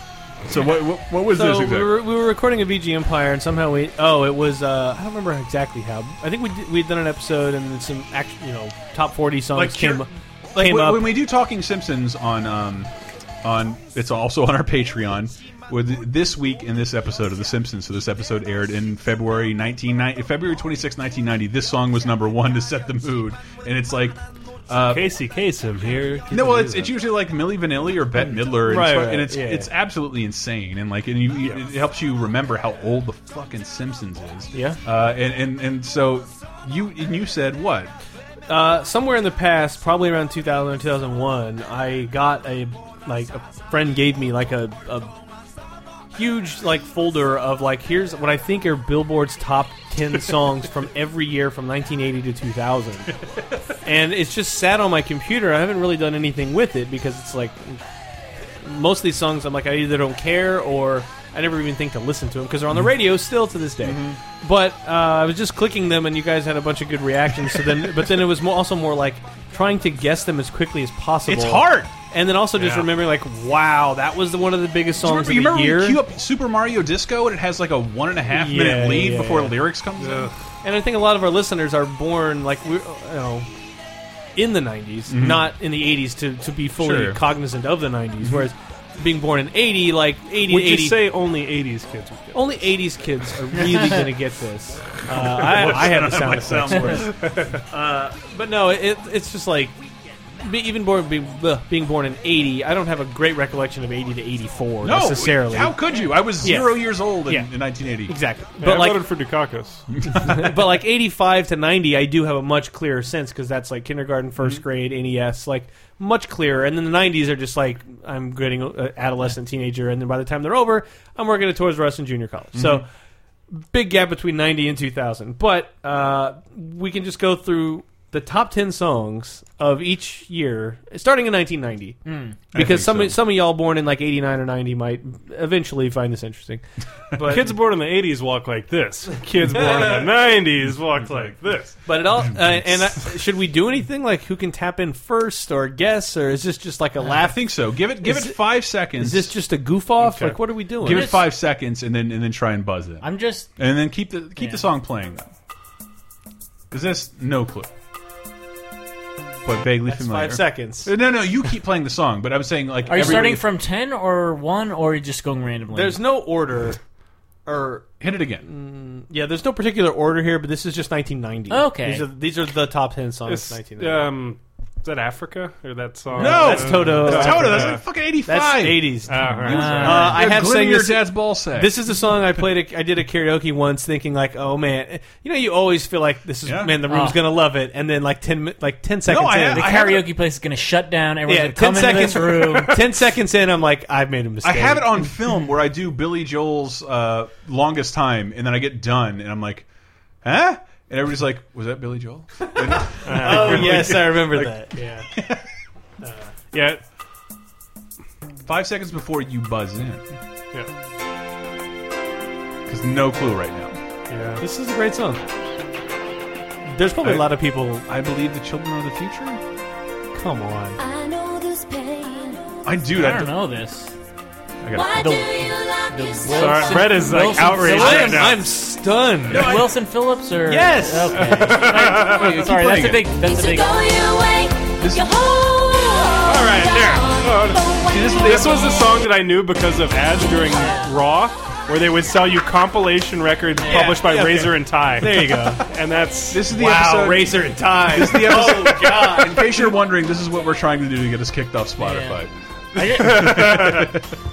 Speaker 2: So what? What, what was this
Speaker 3: So
Speaker 2: exactly?
Speaker 3: we were, we were recording a VG Empire, and somehow we oh it was uh, I don't remember exactly how I think we did, we had done an episode and then some act, you know top forty songs
Speaker 2: Like,
Speaker 3: came
Speaker 2: cur-
Speaker 3: came
Speaker 2: when,
Speaker 3: up.
Speaker 2: when we do talking Simpsons on um, on it's also on our Patreon. With this week in this episode of The Simpsons, so this episode aired in February 1990, February 26, 1990. This song was number one to set the mood, and it's like Uh,
Speaker 4: Casey Kasem here.
Speaker 2: No, well, it's, it's usually like Millie Vanilli or Bette Midler, and,
Speaker 3: Right,
Speaker 2: stuff,
Speaker 3: right,
Speaker 2: and it's
Speaker 3: yeah,
Speaker 2: it's absolutely insane, and like, and you, you- it helps you remember how old the fucking Simpsons is.
Speaker 3: Yeah.
Speaker 2: uh, and and and so you and you said what?
Speaker 3: Uh, somewhere in the past, probably around 2000 or 2001, I got a like a friend gave me like a, a huge like folder of like here's what I think are Billboard's top 10 songs from every year from 1980 to 2000. and it's just sat on my computer. I haven't really done anything with it because it's like most of these songs I'm like I either don't care or I never even think to listen to them because they're
Speaker 2: Mm-hmm.
Speaker 3: on the radio still to this day. But uh, I was just clicking them and you guys had a bunch of good reactions. So then, but then it was more, also more like trying to guess them as quickly as possible.
Speaker 2: It's hard.
Speaker 3: And then also just
Speaker 4: Yeah.
Speaker 3: remembering like, wow, that was the, one of the biggest
Speaker 2: Do you
Speaker 3: songs
Speaker 2: remember, you
Speaker 3: of
Speaker 2: remember
Speaker 3: the
Speaker 2: when
Speaker 3: year.
Speaker 2: you queue up Super Mario Disco and it has like a one and a half
Speaker 3: Yeah,
Speaker 2: minute lead
Speaker 3: yeah,
Speaker 2: before
Speaker 3: yeah.
Speaker 2: lyrics comes in?
Speaker 3: And I think a lot of our listeners are born like we're you know in the '90s, not in the '80s to to be fully
Speaker 2: Sure.
Speaker 3: cognizant of the '90s. Whereas being born in '80, like '80,
Speaker 4: Would you
Speaker 3: 80
Speaker 4: say only '80s kids? Would
Speaker 2: Oh,
Speaker 4: get
Speaker 3: only '80s kids are really going to get this. Uh, I, I have a sound effect.
Speaker 2: Soundboard.
Speaker 3: But no, it, it's just like be, even born be, bleh, being born in '80. I don't have a great recollection of '80 to '84
Speaker 2: no,
Speaker 3: necessarily.
Speaker 2: How could you? I was
Speaker 3: Yeah.
Speaker 2: zero years old in,
Speaker 3: Yeah.
Speaker 2: in 1980.
Speaker 3: exactly,
Speaker 4: it?
Speaker 3: but
Speaker 4: I
Speaker 3: like
Speaker 4: voted for Dukakis.
Speaker 3: but like 85 to 90 i do have a much clearer sense because that's like kindergarten 1st
Speaker 2: Mm-hmm.
Speaker 3: grade nes like much clearer and then the 90s are just like i'm getting uh, adolescent teenager and then by the time they're over i'm working at toys r us in junior college so
Speaker 2: Mm-hmm.
Speaker 3: big gap between 90 and 2000 but uh, we can just go through the top 10 songs of each year starting in 1990
Speaker 2: Mm. think
Speaker 3: because some,
Speaker 2: so.
Speaker 3: some of y'all born in like 89 or 90 might eventually find this interesting but
Speaker 4: Kids born in the '80s walk like this. Kids born in the '90s walk like this.
Speaker 3: But it all uh, and uh, should we do anything like who can tap in first or guess or is this just like a
Speaker 2: I
Speaker 3: laugh?
Speaker 2: think so. Give it give
Speaker 3: Is
Speaker 2: it
Speaker 3: it-
Speaker 2: five seconds.
Speaker 3: Is this just a goof off?
Speaker 4: Okay.
Speaker 3: Like what are we doing?
Speaker 2: give it
Speaker 5: This-
Speaker 2: five seconds and then and then try and buzz it.
Speaker 5: I'm just
Speaker 2: and then keep the keep the song playing. Is this no clue? But vaguely
Speaker 4: That's
Speaker 2: familiar. Uh,
Speaker 4: five seconds.
Speaker 2: No, no, you keep playing the song, but I'm saying like.
Speaker 5: Are you
Speaker 2: every-
Speaker 5: starting from ten or one, or are you just going randomly?
Speaker 3: There's no order, or
Speaker 2: Hit it again.
Speaker 3: yeah, there's no particular order here, but this is just 1990.
Speaker 5: Okay.
Speaker 3: these are these are the top ten songs.
Speaker 4: It's,
Speaker 3: of
Speaker 2: uh,
Speaker 3: 1990.
Speaker 4: um, is that Africa or that song?
Speaker 2: No!
Speaker 3: that's Toto.
Speaker 2: That's Toto. That's
Speaker 4: Uh,
Speaker 2: like fucking eighty-five.
Speaker 3: That's 80s.
Speaker 4: Oh, all right.
Speaker 3: Uh, I have
Speaker 2: sang
Speaker 3: sang
Speaker 2: your
Speaker 3: this.
Speaker 2: dad's ball sack.
Speaker 3: This is the song I played. A, I did a karaoke once, thinking like, "Oh man, you know, you always feel like this is
Speaker 2: Yeah.
Speaker 3: man, the room's
Speaker 5: Oh.
Speaker 3: gonna love it." And then like ten, mi- like ten seconds
Speaker 2: I
Speaker 3: in,
Speaker 2: have-
Speaker 5: the
Speaker 2: I have
Speaker 5: karaoke place is going to shut down.
Speaker 3: yeah,
Speaker 5: Everyone's going
Speaker 3: ten
Speaker 5: to come into
Speaker 3: seconds
Speaker 5: this room.
Speaker 3: ten seconds in, I'm like, I've made a
Speaker 2: I
Speaker 3: mistake.
Speaker 2: have it on film where I do Billy Joel's uh, longest time, and then I get done, and I'm like, huh? And everybody's like, was that Billy Joel?
Speaker 3: Oh yes, I remember that. Yeah.
Speaker 4: Uh, yeah,
Speaker 2: Five seconds before you buzz in,
Speaker 4: yeah,
Speaker 2: because no clue right now.
Speaker 4: yeah.
Speaker 3: This is a great song. There's probably a
Speaker 2: I-
Speaker 3: lot of people.
Speaker 2: I believe the children are the future.
Speaker 3: Come on.
Speaker 7: I know this pain.
Speaker 2: I dude,
Speaker 5: I
Speaker 2: I,
Speaker 5: don't know this.
Speaker 2: I gotta-
Speaker 7: Why do you lock yourself?
Speaker 4: Sorry, Brett is like
Speaker 5: Wilson-
Speaker 4: outraged
Speaker 5: Wilson-
Speaker 4: right now.
Speaker 3: stunned.
Speaker 5: Wilson Phillips or
Speaker 3: Yes!
Speaker 5: Okay. Sorry, that's
Speaker 2: playing
Speaker 5: a big. That's a
Speaker 7: to
Speaker 5: big.
Speaker 7: go your way.
Speaker 2: This-
Speaker 7: Your whole world
Speaker 4: All right, there.
Speaker 7: down.
Speaker 4: Oh,
Speaker 7: But when
Speaker 2: this-
Speaker 7: you
Speaker 4: This was the song that I knew because of ads during Raw, where they would sell you compilation records published by
Speaker 3: yeah, okay.
Speaker 4: Razor and Tie.
Speaker 3: There you go.
Speaker 4: And that's
Speaker 2: This is the
Speaker 4: wow,
Speaker 2: episode-
Speaker 4: Razor and Tie.
Speaker 2: This is the episode. In case you're wondering, this is what we're trying to do to get us kicked off Spotify.
Speaker 5: I,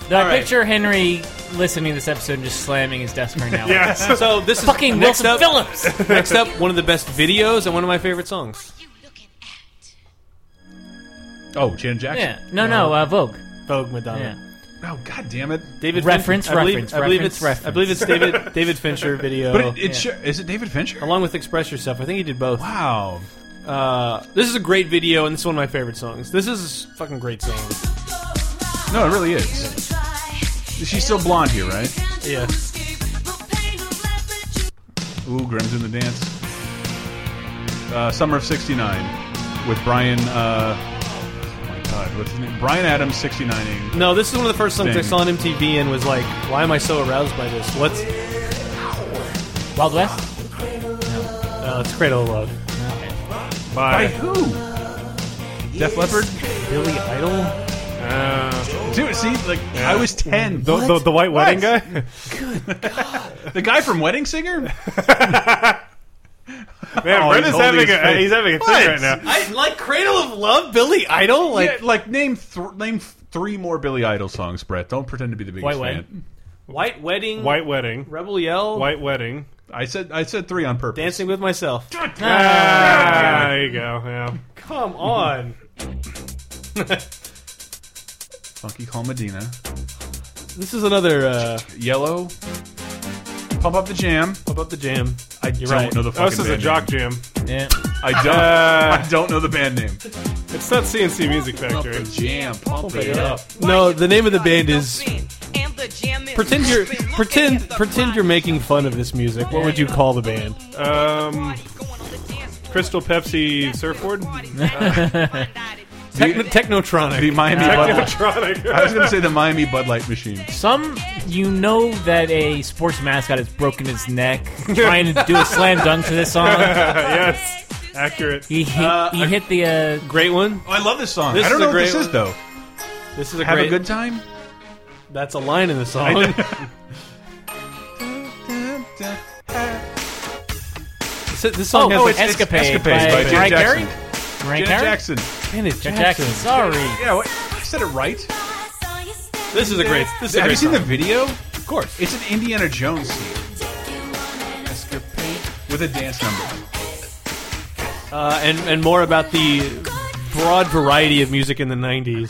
Speaker 5: did, I picture Henry listening to this episode and just slamming his desk right now.
Speaker 4: yes.
Speaker 3: So this is
Speaker 5: Fucking
Speaker 3: next
Speaker 5: Wilson
Speaker 3: up,
Speaker 5: Phillips.
Speaker 3: Next up, one of the best videos and one of my favorite songs.
Speaker 2: Oh, Janet Jackson.
Speaker 5: Yeah. No, no. Uh, Vogue.
Speaker 3: Vogue Madonna.
Speaker 5: Yeah.
Speaker 2: Oh, god damn it.
Speaker 3: David
Speaker 5: Reference,
Speaker 3: Fincher, I believe,
Speaker 5: reference,
Speaker 3: I believe
Speaker 5: reference,
Speaker 3: it's
Speaker 5: reference.
Speaker 3: I believe it's David David Fincher video.
Speaker 2: But it, it
Speaker 5: yeah.
Speaker 2: sure, is it David Fincher?
Speaker 3: along with Express Yourself, I think he did both.
Speaker 2: Wow.
Speaker 3: Uh, this is a great video, and this is one of my favorite songs. This is a fucking great song.
Speaker 2: No, it really is. She's still blonde here, right?
Speaker 3: Yeah,
Speaker 2: Ooh, Grimm's in the dance. Uh, Summer of '69 with Brian. Uh, oh my God, what's his name? Brian Adams, '69ing.
Speaker 3: no, this is one of the first songs I
Speaker 2: Dang.
Speaker 3: saw on MTV and was like, "Why am I so aroused by this?" What's
Speaker 5: Wild West.
Speaker 3: uh, it's Cradle of Love?
Speaker 2: By
Speaker 4: Bye.
Speaker 2: who? Def Leppard.
Speaker 3: Billy Idol.
Speaker 4: Uh,
Speaker 2: Dude, see, like I was ten.
Speaker 4: the, the, the white wedding
Speaker 2: What?
Speaker 4: guy?
Speaker 2: The guy from Wedding Singer.
Speaker 4: Man,
Speaker 2: Oh,
Speaker 4: Brett
Speaker 2: he's
Speaker 4: is
Speaker 2: holding
Speaker 4: having
Speaker 2: his
Speaker 4: a,
Speaker 2: face.
Speaker 4: he's having a
Speaker 2: What?
Speaker 4: thing right now.
Speaker 3: I like Cradle of Love, Billy Idol.
Speaker 2: Like,
Speaker 3: Like,
Speaker 2: like name th name three more Billy Idol songs, Brett. Don't pretend to be the biggest
Speaker 5: White
Speaker 2: fan.
Speaker 5: Wedding.
Speaker 3: White Wedding,
Speaker 4: White wedding.
Speaker 3: Rebel Yell,
Speaker 4: White wedding.
Speaker 2: I said I said three on purpose.
Speaker 3: Dancing with Myself.
Speaker 4: Ah, there you go. Yeah.
Speaker 3: Come on.
Speaker 2: Funky Call Medina.
Speaker 3: This is another uh,
Speaker 2: Yellow. Pump up the jam.
Speaker 3: pump up the jam.
Speaker 2: I don't
Speaker 3: right.
Speaker 2: know the
Speaker 4: Oh,
Speaker 2: fucking
Speaker 4: this is a
Speaker 2: band
Speaker 4: jock jam.
Speaker 5: Yeah.
Speaker 2: name. I don't.
Speaker 4: Uh,
Speaker 2: I don't know the band name.
Speaker 4: it's not CNC Music
Speaker 2: Pump the
Speaker 4: Factory.
Speaker 2: jam. Pump it up.
Speaker 3: No, the name of the band is pretend you're pretend pretend you're making fun of this music. What would you call the band?
Speaker 4: Um, Crystal Pepsi Surfboard?
Speaker 3: Techno- Technotronic.
Speaker 2: The Miami Bud Light. I
Speaker 4: Technotronic.
Speaker 2: was going to say the Miami Bud Light machine.
Speaker 5: Some you know that a sports mascot has broken his neck trying to do a slam dunk to this
Speaker 3: Uh,
Speaker 5: song.
Speaker 4: yes. Accurate.
Speaker 5: He hit, he hit the uh,
Speaker 3: Great one.
Speaker 2: Oh, I love this song.
Speaker 3: This
Speaker 2: I don't
Speaker 3: is a
Speaker 2: know what
Speaker 3: great
Speaker 2: this is
Speaker 3: one.
Speaker 2: though.
Speaker 3: This is a
Speaker 2: Have
Speaker 3: great.
Speaker 2: a good time.
Speaker 3: that's a line in the song. this, this
Speaker 5: oh,
Speaker 3: song has
Speaker 5: oh,
Speaker 3: like,
Speaker 5: it's Escapade,
Speaker 2: Escapades
Speaker 5: by,
Speaker 2: by Janet
Speaker 5: Mariah Carey.
Speaker 2: Jackson.
Speaker 5: Mariah
Speaker 2: Janet
Speaker 5: Carey?
Speaker 2: Jackson.
Speaker 3: Janet
Speaker 5: Janet
Speaker 3: Jackson.
Speaker 5: Jackson. Sorry.
Speaker 2: Yeah, wait, I said it right.
Speaker 3: This is a great. This is a
Speaker 2: Have you
Speaker 3: great
Speaker 2: seen
Speaker 3: song.
Speaker 2: the video?
Speaker 3: Of course.
Speaker 2: It's an Indiana Jones scene with a dance number.
Speaker 3: Uh, and and more about the broad variety of music in the '90s.
Speaker 8: Американская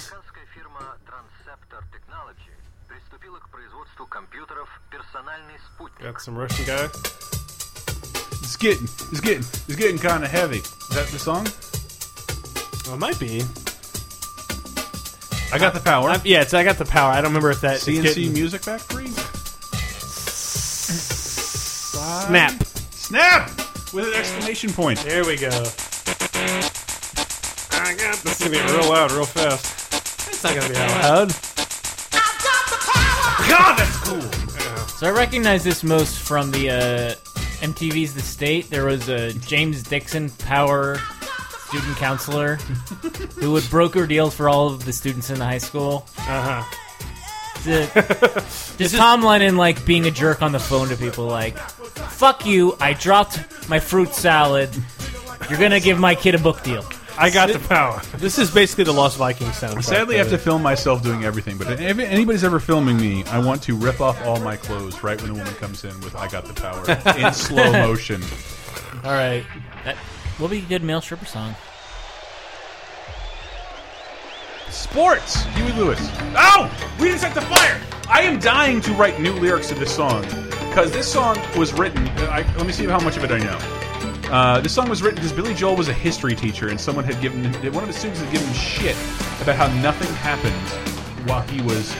Speaker 8: фирма Transceptor Technology приступила к производству компьютеров «Персональный спутник».
Speaker 4: Got some Russian guy.
Speaker 2: It's getting, it's getting, it's getting kind of heavy. Is that the song?
Speaker 3: Well, it might be.
Speaker 2: I got the power.
Speaker 3: I'm, yeah, it's I got the power. I don't remember if that it's
Speaker 2: CNC
Speaker 3: getting-
Speaker 2: Music Factory.
Speaker 3: snap.
Speaker 2: Snap! With an exclamation point.
Speaker 3: There we go.
Speaker 4: I got this. is gonna get real loud, real fast.
Speaker 3: It's not gonna be that loud.
Speaker 5: So I recognize this most from the uh, MTV's The State, there was a James Dixon Power student counselor who would broker deals for all of the students in the high school.
Speaker 4: Uh huh.
Speaker 5: The, just Tom Lennon like being a jerk on the phone to people like, "Fuck you! I dropped my fruit salad. You're gonna give my kid a book deal."
Speaker 4: I got the power.
Speaker 9: This is basically the Lost Vikings soundtrack.
Speaker 2: Sadly, I have to
Speaker 9: Uh,
Speaker 2: film myself doing everything. But if anybody's ever filming me, I want to rip off all my clothes right when the woman comes in with "I got the power" in slow motion.
Speaker 5: All right, that will be a good male stripper song.
Speaker 2: Sports, Huey Lewis. Ow! We didn't set the fire. I am dying to write new lyrics to this song because this song was written. I, let me see how much of it I know. Uh, this song was written because Billy Joel was a history teacher, and someone had given him, one of his students had given him shit about how nothing happened while he was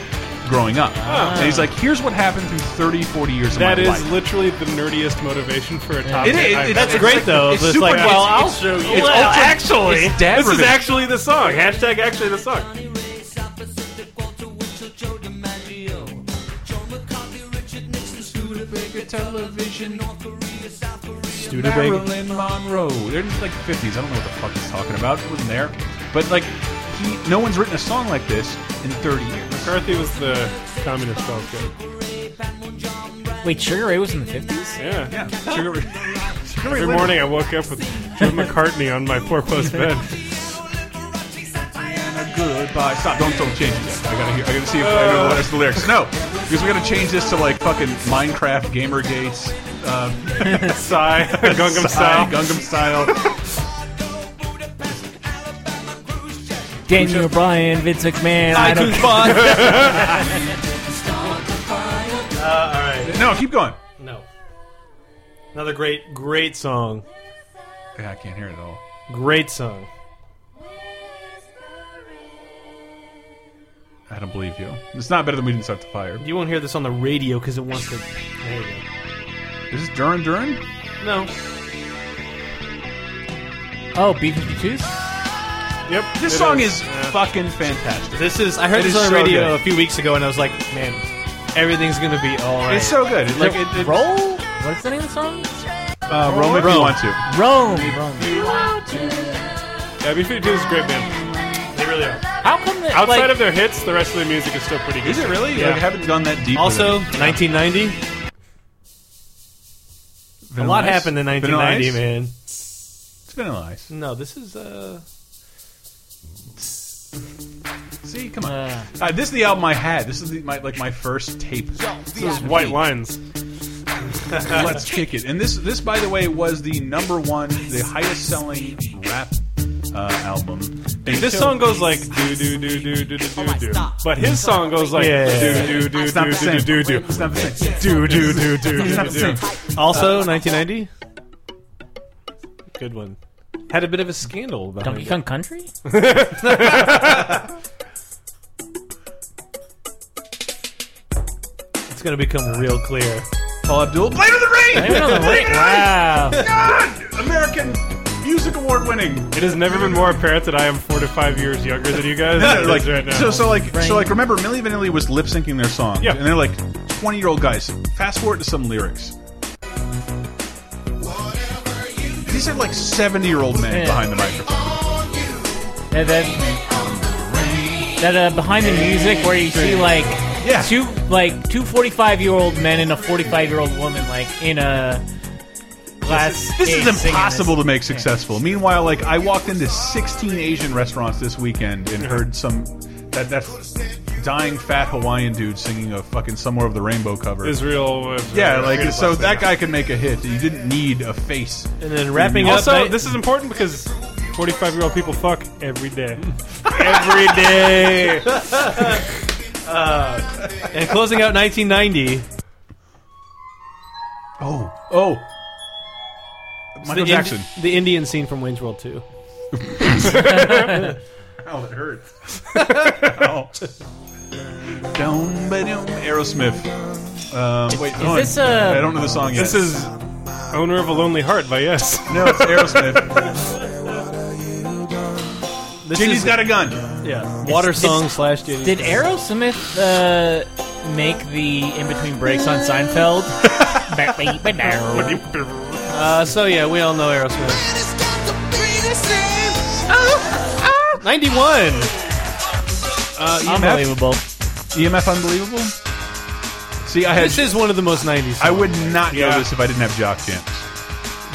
Speaker 2: growing up. And he's like, "Here's what happened through 30, 40 years of
Speaker 4: That
Speaker 2: my
Speaker 4: is
Speaker 2: life."
Speaker 4: literally the nerdiest motivation for a
Speaker 2: It
Speaker 4: topic.
Speaker 2: is. It's-
Speaker 4: I've ever-
Speaker 2: it's
Speaker 9: great,
Speaker 2: like-
Speaker 9: though.
Speaker 2: It's
Speaker 9: It's
Speaker 2: super
Speaker 9: like,
Speaker 2: it's-
Speaker 9: well,
Speaker 2: it's-
Speaker 9: I'll show you.
Speaker 2: It's
Speaker 4: Well,
Speaker 2: ultra-
Speaker 4: actually,
Speaker 2: it's dad
Speaker 4: this is
Speaker 2: revenge.
Speaker 4: actually the song. Hashtag actually the song.
Speaker 9: Studebaker.
Speaker 2: Marilyn Monroe. They're in like fifties. I don't know what the fuck he's talking about. It wasn't there. But like he no one's written a song like this in thirty years.
Speaker 4: McCarthy was the communist felt
Speaker 5: Wait, Sugar Ray was in the fifties.
Speaker 4: Yeah.
Speaker 2: Yeah. Sugar, Sugar Ray
Speaker 4: Every
Speaker 2: Leonard.
Speaker 4: morning I woke up with Joe McCartney on my four post bed.
Speaker 2: Goodbye. Stop. Don't don't change it yet. I gotta hear I gotta see if I know what is the lyrics. No. Because we're gonna change this to like fucking Minecraft Gamergates, um,
Speaker 4: Sigh. Gungam
Speaker 2: Psy,
Speaker 4: Style.
Speaker 2: Gangnam style.
Speaker 5: Daniel Bryan, Vince McMahon. I don't.
Speaker 9: iTunes Bond.
Speaker 2: No, keep going.
Speaker 9: No. Another great, great song.
Speaker 2: Yeah, I can't hear it at all.
Speaker 9: Great song.
Speaker 2: I don't believe you. It's not better than we didn't start the fire.
Speaker 9: You won't hear this on the radio because it wants to. There you
Speaker 2: Is this Duran Duran?
Speaker 9: go. No.
Speaker 5: Oh, B52s.
Speaker 4: Yep.
Speaker 2: This
Speaker 4: it
Speaker 2: song
Speaker 4: is.
Speaker 2: is fucking fantastic.
Speaker 9: This is. I heard
Speaker 2: It
Speaker 9: this
Speaker 2: is
Speaker 9: on the
Speaker 2: so
Speaker 9: radio
Speaker 2: good.
Speaker 9: a few weeks ago, and I was like, man, everything's gonna be all right.
Speaker 2: It's so good. It, like it, it,
Speaker 5: Roll. What's the name of the song?
Speaker 2: Uh, Rome if you
Speaker 9: Rome.
Speaker 2: want to.
Speaker 5: Rome. Rome.
Speaker 4: Yeah, B52 is a great band.
Speaker 9: they really are.
Speaker 5: How come that?
Speaker 4: Outside
Speaker 5: like,
Speaker 4: of their hits, the rest of their music is still pretty good.
Speaker 2: Is it really?
Speaker 4: Yeah.
Speaker 2: Like, I haven't gone that deep.
Speaker 9: Also,
Speaker 2: with it.
Speaker 9: 1990. A
Speaker 2: Vanilla
Speaker 9: lot
Speaker 2: Ice?
Speaker 9: happened in
Speaker 2: Vanilla
Speaker 9: 1990,
Speaker 2: Ice?
Speaker 9: man.
Speaker 2: It's Vanilla Ice.
Speaker 9: No, this is. uh
Speaker 2: See, come on. Uh, this is the album I had. This is the, my like my first tape.
Speaker 4: This is White Lines.
Speaker 2: Let's kick it. And this this by the way was the number one, the highest selling rap uh, album. And
Speaker 4: This song goes like do do do do do do
Speaker 2: Oh
Speaker 4: do do, but his song goes like
Speaker 9: Yeah.
Speaker 4: do do do
Speaker 2: It's not the
Speaker 4: do
Speaker 2: same.
Speaker 4: do do do
Speaker 2: It's not the same.
Speaker 4: do do do do
Speaker 2: It's not
Speaker 4: do
Speaker 2: the
Speaker 4: do.
Speaker 2: same.
Speaker 9: Also, 1990. Good one. Had a bit of a scandal behind
Speaker 5: Donkey
Speaker 9: it.
Speaker 5: Kong Country?
Speaker 9: It's gonna become real clear.
Speaker 2: Paul Abdul, Blade of the Rain.
Speaker 5: wow.
Speaker 2: God, American Music Award winning.
Speaker 4: It has never been more apparent that I am four to five years younger than you guys.
Speaker 2: No,
Speaker 4: than it
Speaker 2: like,
Speaker 4: is right now.
Speaker 2: So, so like, so like, remember, Milli Vanilli was lip syncing their song,
Speaker 4: Yeah.
Speaker 2: and they're like twenty-year-old guys. Fast forward to some lyrics. These are like seventy-year-old men
Speaker 5: Yeah.
Speaker 2: behind the microphone.
Speaker 5: That, that, that uh, behind the music where you see like
Speaker 2: Yeah.
Speaker 5: two like two 45 year old men and a 45 year old woman like in a glass.
Speaker 2: This
Speaker 5: case
Speaker 2: is
Speaker 5: singing
Speaker 2: impossible
Speaker 5: this.
Speaker 2: to make successful. Meanwhile, like, I walked into sixteen Asian restaurants this weekend and heard some that that dying fat Hawaiian dude singing a fucking "Somewhere of the Rainbow" cover.
Speaker 4: Israel. was- uh,
Speaker 2: yeah, like
Speaker 4: was-
Speaker 2: so that guy could make a hit. You didn't need a face.
Speaker 9: And then
Speaker 5: Mm.
Speaker 9: wrapping up.
Speaker 4: Also,
Speaker 9: night-
Speaker 4: this is important because forty-five-year-old people fuck every day. every day.
Speaker 9: and closing out 1990.
Speaker 2: Oh, oh, Michael
Speaker 9: the
Speaker 2: Jackson.
Speaker 9: Indi- the Indian scene from Wayne's World 2.
Speaker 2: Oh, it hurts. Ow. Dum ba dum. Aerosmith. Um, wait, hold on.
Speaker 5: this, uh,
Speaker 2: I don't know the song yet.
Speaker 4: This is "Owner of a Lonely Heart" by Yes.
Speaker 2: no, it's Aerosmith.
Speaker 9: This
Speaker 2: Jimmy's
Speaker 9: is,
Speaker 2: got a gun.
Speaker 9: yeah, water song slash Jenny.
Speaker 5: Did Aerosmith uh, make the in between breaks on Seinfeld?
Speaker 3: Uh, so yeah, we all know Aerosmith.
Speaker 9: Oh,
Speaker 3: Ninety-one.
Speaker 2: E
Speaker 5: Unbelievable.
Speaker 2: EMF E unbelievable. See, I had
Speaker 3: This is one of the most nineties.
Speaker 2: I would not know
Speaker 4: Yeah.
Speaker 2: this if I didn't have Jock Jams.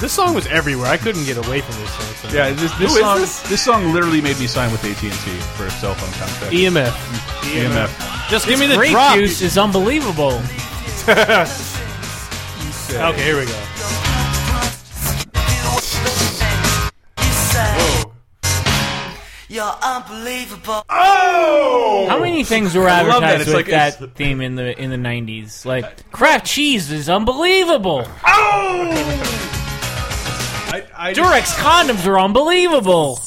Speaker 9: This song was everywhere. I couldn't get away from this song. so-
Speaker 2: Yeah, this, this
Speaker 4: is
Speaker 2: song
Speaker 4: this?
Speaker 2: song literally made me sign with AT and T for a cell phone contract.
Speaker 3: E
Speaker 9: E
Speaker 2: E
Speaker 3: EMF.
Speaker 2: EMF.
Speaker 3: Just give me the
Speaker 5: Grape
Speaker 3: drop.
Speaker 5: juice is unbelievable.
Speaker 4: Okay, here we go. Whoa.
Speaker 5: How many things were
Speaker 2: Oh. love
Speaker 5: advertised
Speaker 2: that. It's
Speaker 5: with
Speaker 2: like-
Speaker 5: that
Speaker 2: it's-
Speaker 5: theme in the in the nineties? Like Kraft cheese is unbelievable.
Speaker 2: I, I, just,
Speaker 5: Durex condoms are unbelievable.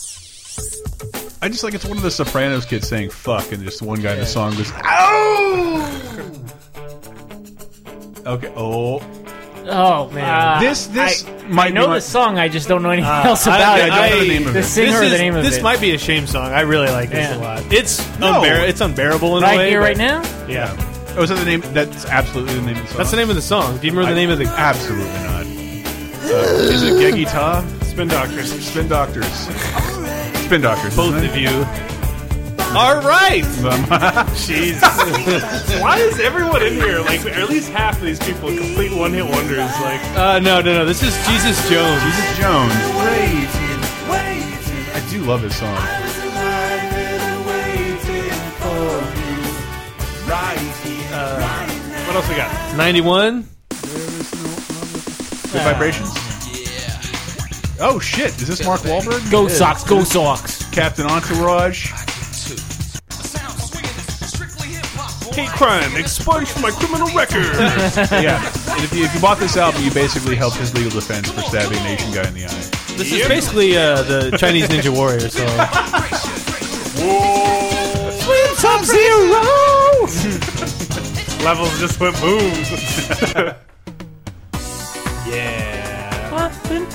Speaker 2: I just like it's one of the Sopranos kids saying "fuck" and just one guy in the song goes "ow." okay. Oh,
Speaker 5: Oh man,
Speaker 2: this this
Speaker 5: I,
Speaker 2: might
Speaker 5: I
Speaker 2: be
Speaker 5: know
Speaker 2: my-
Speaker 5: the song. I just don't know anything else about
Speaker 2: Uh, I
Speaker 5: it.
Speaker 2: don't know the name of
Speaker 5: the
Speaker 2: it.
Speaker 5: singer,
Speaker 9: This,
Speaker 5: or
Speaker 9: is,
Speaker 5: the name of
Speaker 9: this
Speaker 5: it.
Speaker 9: might be a shame song. I really like this
Speaker 5: Yeah.
Speaker 9: a lot. It's
Speaker 2: No.
Speaker 9: unbear- it's unbearable in a
Speaker 5: right
Speaker 9: way.
Speaker 5: here,
Speaker 9: but-
Speaker 5: right now.
Speaker 9: Yeah.
Speaker 2: Oh, is that the name? That's absolutely the name of the song.
Speaker 9: That's the name of the song. Do you remember the name of the?
Speaker 2: Absolutely not. Uh, is it Geggy Ta?
Speaker 4: Spin Doctors.
Speaker 2: Spin Doctors. Spin Doctors.
Speaker 9: Both
Speaker 2: isn't
Speaker 9: of
Speaker 2: it?
Speaker 9: you. All right.
Speaker 4: Jesus. Why is everyone in here, like, at least half of these people, complete one hit wonders? Like,
Speaker 9: Uh, no, no, no. This is Jesus Jones.
Speaker 2: Jesus Jones. I do love his song.
Speaker 9: uh,
Speaker 4: what else we got?
Speaker 9: Ninety-one.
Speaker 2: Good vibrations. Oh shit! Is this Mark Wahlberg?
Speaker 5: Go socks, go socks.
Speaker 2: Captain Entourage.
Speaker 4: Hate crime, expunged from my criminal record.
Speaker 2: Yeah. And if you, if you bought this album, you basically helped his legal defense for stabbing an Asian guy in the eye.
Speaker 9: This is basically uh, the Chinese Ninja Warrior song.
Speaker 3: Sub Zero.
Speaker 4: Levels just went boom.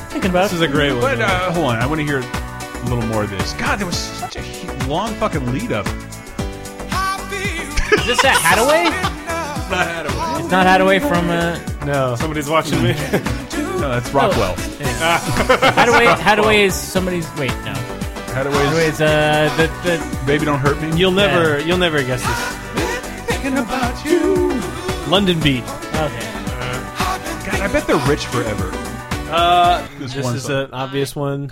Speaker 5: Thinking about
Speaker 9: This is a great
Speaker 2: But
Speaker 9: one.
Speaker 2: uh, hold on, I want to hear a little more of this. God, there was such a hu- long fucking lead up.
Speaker 5: is this that Hadaway? It's not Hadaway from uh,
Speaker 9: No.
Speaker 4: Somebody's watching me.
Speaker 2: No, that's Rockwell.
Speaker 5: Hadaway. Hadaway is somebody's. Wait, no. Hadaway
Speaker 2: Hadaway's
Speaker 5: is uh, the the
Speaker 2: "Baby Don't Hurt Me."
Speaker 9: You'll never, you'll never guess this.
Speaker 2: thinking about you.
Speaker 9: London Beat.
Speaker 5: okay.
Speaker 2: God, I bet they're rich forever.
Speaker 9: Uh,
Speaker 2: This,
Speaker 9: this
Speaker 2: one
Speaker 9: is
Speaker 2: song.
Speaker 9: an obvious one.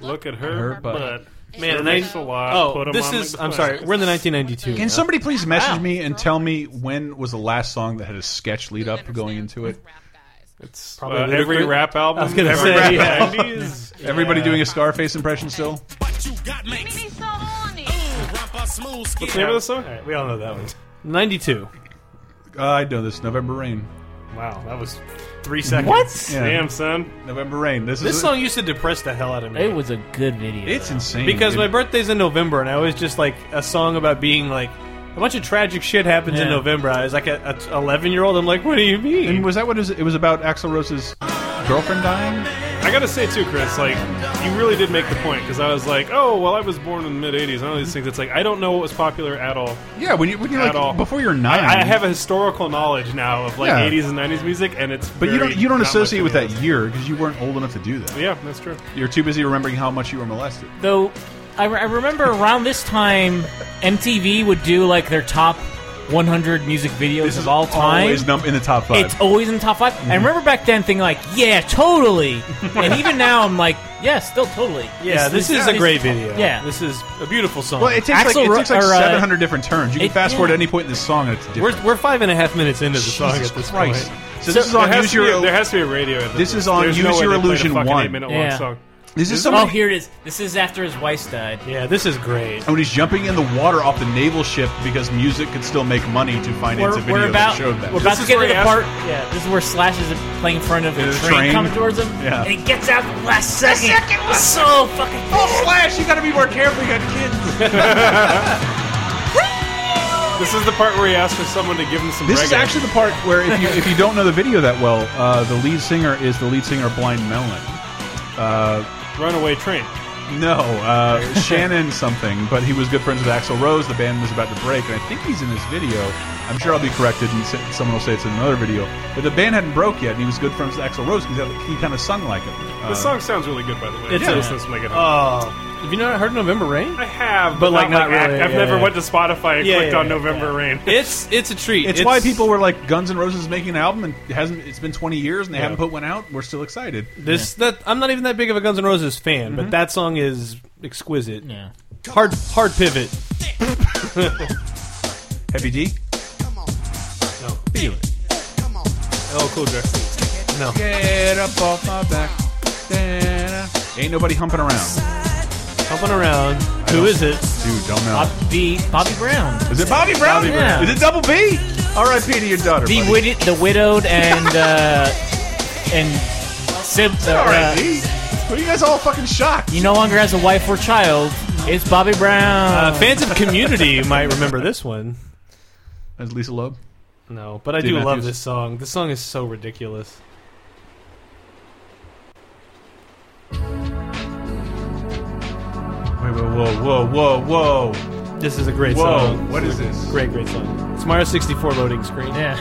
Speaker 4: Look at her,
Speaker 2: Her butt.
Speaker 4: butt.
Speaker 9: Man,
Speaker 4: Thanks a lot.
Speaker 9: Oh,
Speaker 4: Put 'em
Speaker 9: this
Speaker 4: on
Speaker 9: is.
Speaker 4: the
Speaker 9: I'm
Speaker 4: plaque.
Speaker 9: sorry. We're in the 1992.
Speaker 2: Can somebody please message me and tell me when was the last song that had a sketch lead up going into it?
Speaker 4: Uh, every rap album. I was
Speaker 9: gonna
Speaker 4: every
Speaker 9: say,
Speaker 4: rap Nineties.
Speaker 2: Everybody doing a Scarface impression still?
Speaker 4: What's the name of the song?
Speaker 9: Alright, we all know that one. 92.
Speaker 2: Uh, I know this. November Rain.
Speaker 4: Wow, that was three seconds.
Speaker 5: What?
Speaker 2: Yeah.
Speaker 4: Damn, son.
Speaker 2: November Rain. This,
Speaker 9: This
Speaker 2: is
Speaker 9: song used to depress the hell out of me.
Speaker 5: It was a good video.
Speaker 2: It's insane.
Speaker 9: because
Speaker 2: dude.
Speaker 9: my birthday's in November, and I was just like a song about being like a bunch of tragic shit happens in
Speaker 5: Yeah.
Speaker 9: November. I was like a 11 year old. I'm like, what do you
Speaker 2: and
Speaker 9: mean?
Speaker 2: was that what it was, it was about? Axl Rose's girlfriend dying.
Speaker 4: I gotta say too, Chris, like you really did make the point because I was like, oh, well, I was born in the mid '80s. and all these things. It's like I don't know what was popular at all.
Speaker 2: Yeah, when you when you're like
Speaker 4: At all.
Speaker 2: before you're nine.
Speaker 4: I, I have a historical knowledge now of like
Speaker 2: Yeah.
Speaker 4: '80s and '90s music, and it's
Speaker 2: But you
Speaker 4: very
Speaker 2: don't you don't
Speaker 4: not
Speaker 2: associate
Speaker 4: much
Speaker 2: with that
Speaker 4: anymore.
Speaker 2: year because you weren't old enough to do that.
Speaker 4: Yeah, that's true.
Speaker 2: You're too busy remembering how much you were molested.
Speaker 5: though I, re- I remember around this time MTV would do like their top 100 music videos
Speaker 2: This
Speaker 5: of
Speaker 2: is
Speaker 5: all time.
Speaker 2: Always num- in the top five.
Speaker 5: it's always in the top 5
Speaker 9: Mhm.
Speaker 5: I remember back then thinking like, yeah, totally. and even now I'm like, yeah, still totally.
Speaker 9: Yeah, this, is a great video.
Speaker 5: yeah.
Speaker 9: this is a beautiful song.
Speaker 2: well, it takes
Speaker 5: Axl
Speaker 2: like, it
Speaker 5: Ro-
Speaker 2: takes like
Speaker 5: or, uh,
Speaker 2: 700 different turns. You can
Speaker 5: it-
Speaker 2: fast forward
Speaker 5: yeah.
Speaker 2: at any point in this song and it's different.
Speaker 9: we're, we're five and a half minutes into the song
Speaker 2: Jesus
Speaker 9: at this
Speaker 2: Christ.
Speaker 9: point.
Speaker 2: So, this is on
Speaker 4: there,
Speaker 2: Use
Speaker 4: has to be a-
Speaker 2: Your
Speaker 4: there has to be a radio. edit of
Speaker 2: This is on
Speaker 4: There's no
Speaker 2: Use
Speaker 4: way
Speaker 2: Your
Speaker 4: they played a
Speaker 2: Illusion
Speaker 4: fucking
Speaker 2: One.
Speaker 4: Eight-minute
Speaker 5: Yeah.
Speaker 4: long song.
Speaker 2: This is
Speaker 5: Oh,
Speaker 2: somebody
Speaker 5: here it is. This is after his wife died.
Speaker 9: Yeah, this is great.
Speaker 2: and when he's jumping in the water off the naval ship because music could still make money to finance
Speaker 5: We're,
Speaker 2: a video
Speaker 5: we're about,
Speaker 2: that showed that.
Speaker 5: we're about
Speaker 4: This
Speaker 5: to
Speaker 4: is
Speaker 5: get
Speaker 4: where
Speaker 5: to the
Speaker 4: he
Speaker 5: part. Yeah, this is where Slash is playing in front of a
Speaker 2: There's a
Speaker 5: train,
Speaker 2: train.
Speaker 5: coming towards him,
Speaker 2: Yeah.
Speaker 5: and he gets out the last second. It's so fucking.
Speaker 2: oh, Flash, you got to be more careful. You got kids.
Speaker 4: This is the part where he asked for someone to give him some.
Speaker 2: This is
Speaker 4: reggae.
Speaker 2: actually the part where if you if you don't know the video that well, uh, the lead singer is the lead singer of Blind Melon.
Speaker 4: Runaway Train.
Speaker 2: No, uh, Shannon something, but he was good friends with Axl Rose. The band was about to break, and I think he's in this video. I'm sure I'll be corrected, and s- someone will say it's in another video. But the band hadn't broke yet, and he was good friends with Axl Rose because he kind of sung like him. Uh,
Speaker 4: The song sounds really good, by the way.
Speaker 3: It's
Speaker 4: yeah.
Speaker 3: a-
Speaker 4: listen to some Megadeth.
Speaker 3: Have you not heard November Rain?
Speaker 4: I have, but,
Speaker 3: but, like, not
Speaker 4: act-
Speaker 3: really,
Speaker 4: I've
Speaker 3: yeah,
Speaker 4: never
Speaker 3: yeah.
Speaker 4: went to Spotify and
Speaker 3: Yeah,
Speaker 4: clicked
Speaker 3: yeah,
Speaker 4: on
Speaker 3: yeah.
Speaker 4: November Rain.
Speaker 3: It's it's a treat.
Speaker 2: it's, why people were like, Guns N' Roses is making an album, and it hasn't it's been 20 years, and they haven't put one out. We're still excited.
Speaker 3: this that I'm not even that big of a Guns N' Roses fan,
Speaker 9: Mm-hmm.
Speaker 3: but that song is exquisite.
Speaker 5: Yeah.
Speaker 3: Hard hard pivot.
Speaker 2: Heavy D.
Speaker 4: oh, cool, Jack.
Speaker 2: Get up off my back. Ain't nobody humping around,
Speaker 3: Pumping around. Who is it?
Speaker 2: dude. Don't know.
Speaker 5: Bobby, Bobby Brown.
Speaker 2: Is it Bobby Brown?
Speaker 5: Bobby Brown.
Speaker 2: Is it Double B? R.I.P. to your daughter.
Speaker 5: The
Speaker 2: buddy.
Speaker 5: widowed, the widowed, and uh, and Sib, uh,
Speaker 2: All right,
Speaker 5: uh,
Speaker 2: B. What are you guys all fucking shocked?
Speaker 5: he no longer has a wife or child. It's Bobby Brown.
Speaker 3: Uh, fans of Community might remember this one.
Speaker 2: As Lisa Loeb.
Speaker 3: No, but I
Speaker 2: Dave
Speaker 3: do love
Speaker 2: Matthews.
Speaker 3: this song. This song is so ridiculous.
Speaker 2: Wait, wait, whoa, whoa, whoa, whoa,
Speaker 3: This is a great
Speaker 2: whoa!
Speaker 3: song.
Speaker 2: Oh, What is this?
Speaker 3: Great, great song. It's Mario 64 loading screen.
Speaker 5: yeah.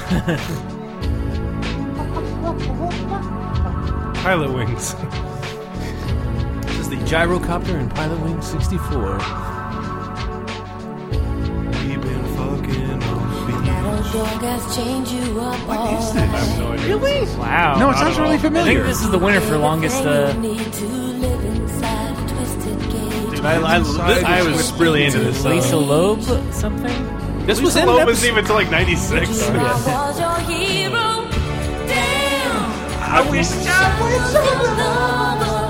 Speaker 4: Pilot Wings.
Speaker 3: This is the gyrocopter in Pilot Wing 64.
Speaker 4: We've been fucking
Speaker 7: That old dog has changed you up all night.
Speaker 5: Really? Wow.
Speaker 2: No, it sounds really
Speaker 5: I think
Speaker 2: familiar.
Speaker 5: this is the winner for longest. Uh,
Speaker 7: Everything you need to live inside a twisted cage.
Speaker 3: I, I, this- I was really into this song.
Speaker 5: Lisa Loeb something.
Speaker 3: This was in
Speaker 4: Loeb
Speaker 3: an
Speaker 4: was
Speaker 3: episode.
Speaker 4: even to like '96.
Speaker 7: I was your hero. Damn.
Speaker 2: I wish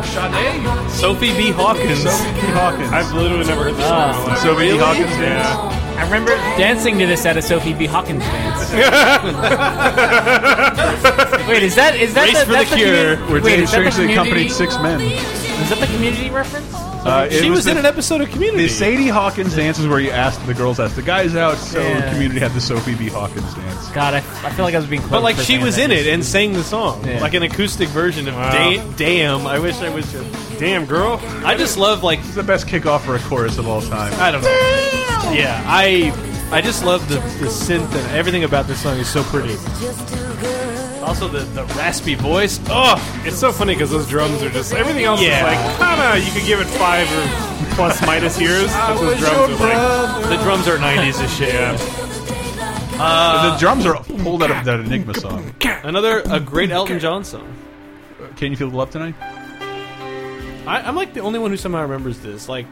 Speaker 7: Sade.
Speaker 3: Sophie B. Hawkins.
Speaker 2: Sophie Hawkins.
Speaker 4: I've literally never heard this song. in
Speaker 3: Ah.
Speaker 4: my life.
Speaker 2: Sophie B. Hawkins dance.
Speaker 5: I remember dancing to this at a Sophie B. Hawkins dance. Wait, is that is that
Speaker 3: Race
Speaker 5: the,
Speaker 3: for
Speaker 5: that's
Speaker 3: the
Speaker 5: the
Speaker 3: Cure,
Speaker 5: commu-
Speaker 2: Where
Speaker 5: Wait,
Speaker 2: Dave
Speaker 5: is that the
Speaker 2: strangely
Speaker 5: community?
Speaker 2: accompanied six men.
Speaker 5: Is that the community reference?
Speaker 2: Uh, it
Speaker 3: She was
Speaker 2: the,
Speaker 3: in an episode of
Speaker 2: The
Speaker 3: Community.
Speaker 2: Sadie Hawkins dance is where you asked the girls, asked the guys out. So
Speaker 5: Yeah.
Speaker 2: Community had the Sophie B. Hawkins dance.
Speaker 5: God, I, I feel like I was being.
Speaker 3: But like she was in it and sang the song,
Speaker 5: Yeah.
Speaker 3: like an acoustic version of da- "Damn." I wish I was. Your-
Speaker 4: Damn, girl.
Speaker 3: I just love like
Speaker 2: It's the best kickoff for a chorus of all time. Uh,
Speaker 3: I don't know. Yeah, I I just love the, the synth and everything about this song is so pretty. Also the, the raspy voice. Oh,
Speaker 4: It's so funny because those drums are just everything else
Speaker 3: Yeah.
Speaker 4: is like kind of you could give it five or plus minus years. but those drums are like
Speaker 3: the drums are '90s as shit.
Speaker 2: the drums are pulled out of that Enigma song.
Speaker 3: Another a great Elton John song.
Speaker 2: Can you feel the love tonight?
Speaker 3: I, I'm like the only one who somehow remembers this. Like,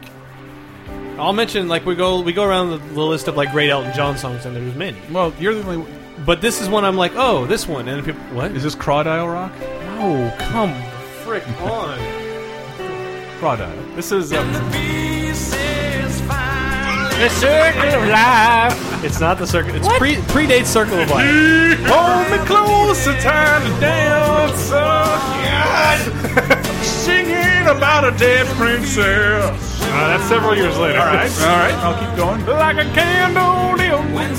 Speaker 3: I'll mention like we go we go around the, the list of like great Elton John songs, and there's many.
Speaker 2: Well, you're the only.
Speaker 3: But this is one I'm like, oh, this one, and people, what?
Speaker 2: Is this Crawdile Rock?
Speaker 3: Oh, come frick on!
Speaker 2: Crawdile.
Speaker 4: this is um,
Speaker 5: The circle of life.
Speaker 3: It's not the circle. It's pre predates Circle of Life.
Speaker 4: hold me close, it's time to dance.
Speaker 2: Singing about a dead princess.
Speaker 4: Uh, that's several years later.
Speaker 2: All right, all right. I'll keep going.
Speaker 4: like a candle. dim-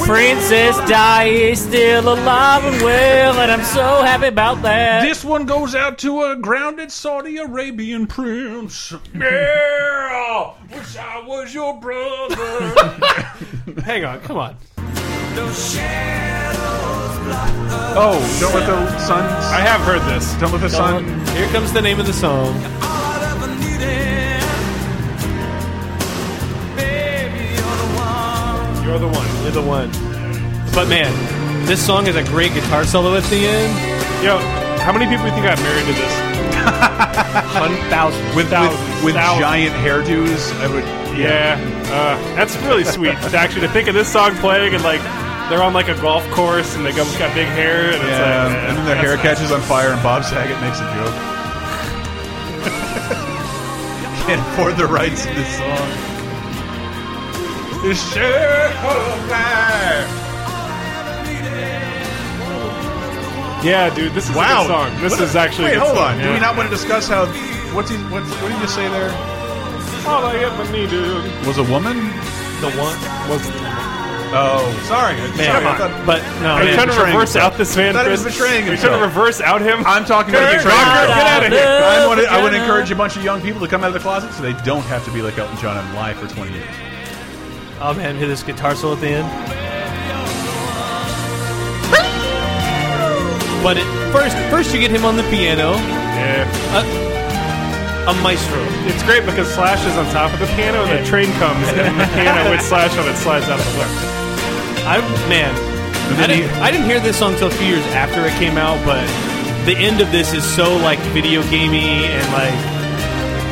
Speaker 5: Princess Di is still alive and well, and I'm so happy about that.
Speaker 2: This one goes out to a grounded Saudi Arabian prince. Yeah, wish I was your brother.
Speaker 3: Hang on, come on.
Speaker 2: oh, don't let the sun.
Speaker 4: I have heard this.
Speaker 2: Don't let the sun.
Speaker 3: Here comes the name of the song.
Speaker 4: You're the one.
Speaker 3: You're the one. But man, this song is a great guitar solo at the end.
Speaker 4: Yo, how many people do you think got married to this?
Speaker 3: Hundred thousand.
Speaker 2: With,
Speaker 4: Thousands,
Speaker 2: with, with
Speaker 4: thousands.
Speaker 2: giant hairdos, I would.
Speaker 4: Yeah, uh, that's really sweet. Actually, to think of this song playing and like they're on like a golf course and they got got big hair and it's
Speaker 2: Yeah,
Speaker 4: like, eh,
Speaker 2: Um, and then their
Speaker 4: that's
Speaker 2: hair
Speaker 4: nice.
Speaker 2: catches on fire, and Bob Saget makes a joke. Can't afford the rights to this song. The circle of life.
Speaker 4: Yeah, dude, this is a good song. This
Speaker 2: What
Speaker 4: is
Speaker 2: a-
Speaker 4: actually
Speaker 2: Wait,
Speaker 4: a good
Speaker 2: hold
Speaker 4: song,
Speaker 2: on. Do
Speaker 4: yeah.
Speaker 2: we not want to discuss how? What's he? What's, what did you say there?
Speaker 4: All I ever needed
Speaker 2: Was a woman?
Speaker 3: The one.
Speaker 4: was
Speaker 2: Oh, sorry. sorry. I thought-
Speaker 4: but no, are you
Speaker 2: man,
Speaker 4: trying to
Speaker 2: betraying
Speaker 4: reverse
Speaker 2: himself.
Speaker 4: out this man?
Speaker 2: Thought he was
Speaker 4: Chris?
Speaker 2: betraying
Speaker 4: Are you trying
Speaker 2: himself.
Speaker 4: to reverse out him?
Speaker 2: I'm talking about
Speaker 4: Kurt
Speaker 2: betraying
Speaker 4: Rucker,
Speaker 2: himself.
Speaker 4: Get out of here!
Speaker 2: I want to I wanna encourage a bunch of young people to come out of the closet so they don't have to be like Elton John and lie for 20 years.
Speaker 3: Oh man, hear this guitar solo at the end. But it, first, first you get him on the piano,
Speaker 4: Yeah.
Speaker 3: a maestro.
Speaker 4: It's great because Slash is on top of the piano, and the train comes, and the piano with Slash on it slides out of the way.
Speaker 3: I man, I
Speaker 2: then
Speaker 3: didn't,
Speaker 2: he-
Speaker 3: I didn't hear this song until a few years after it came out, but the end of this is so like video gamey and like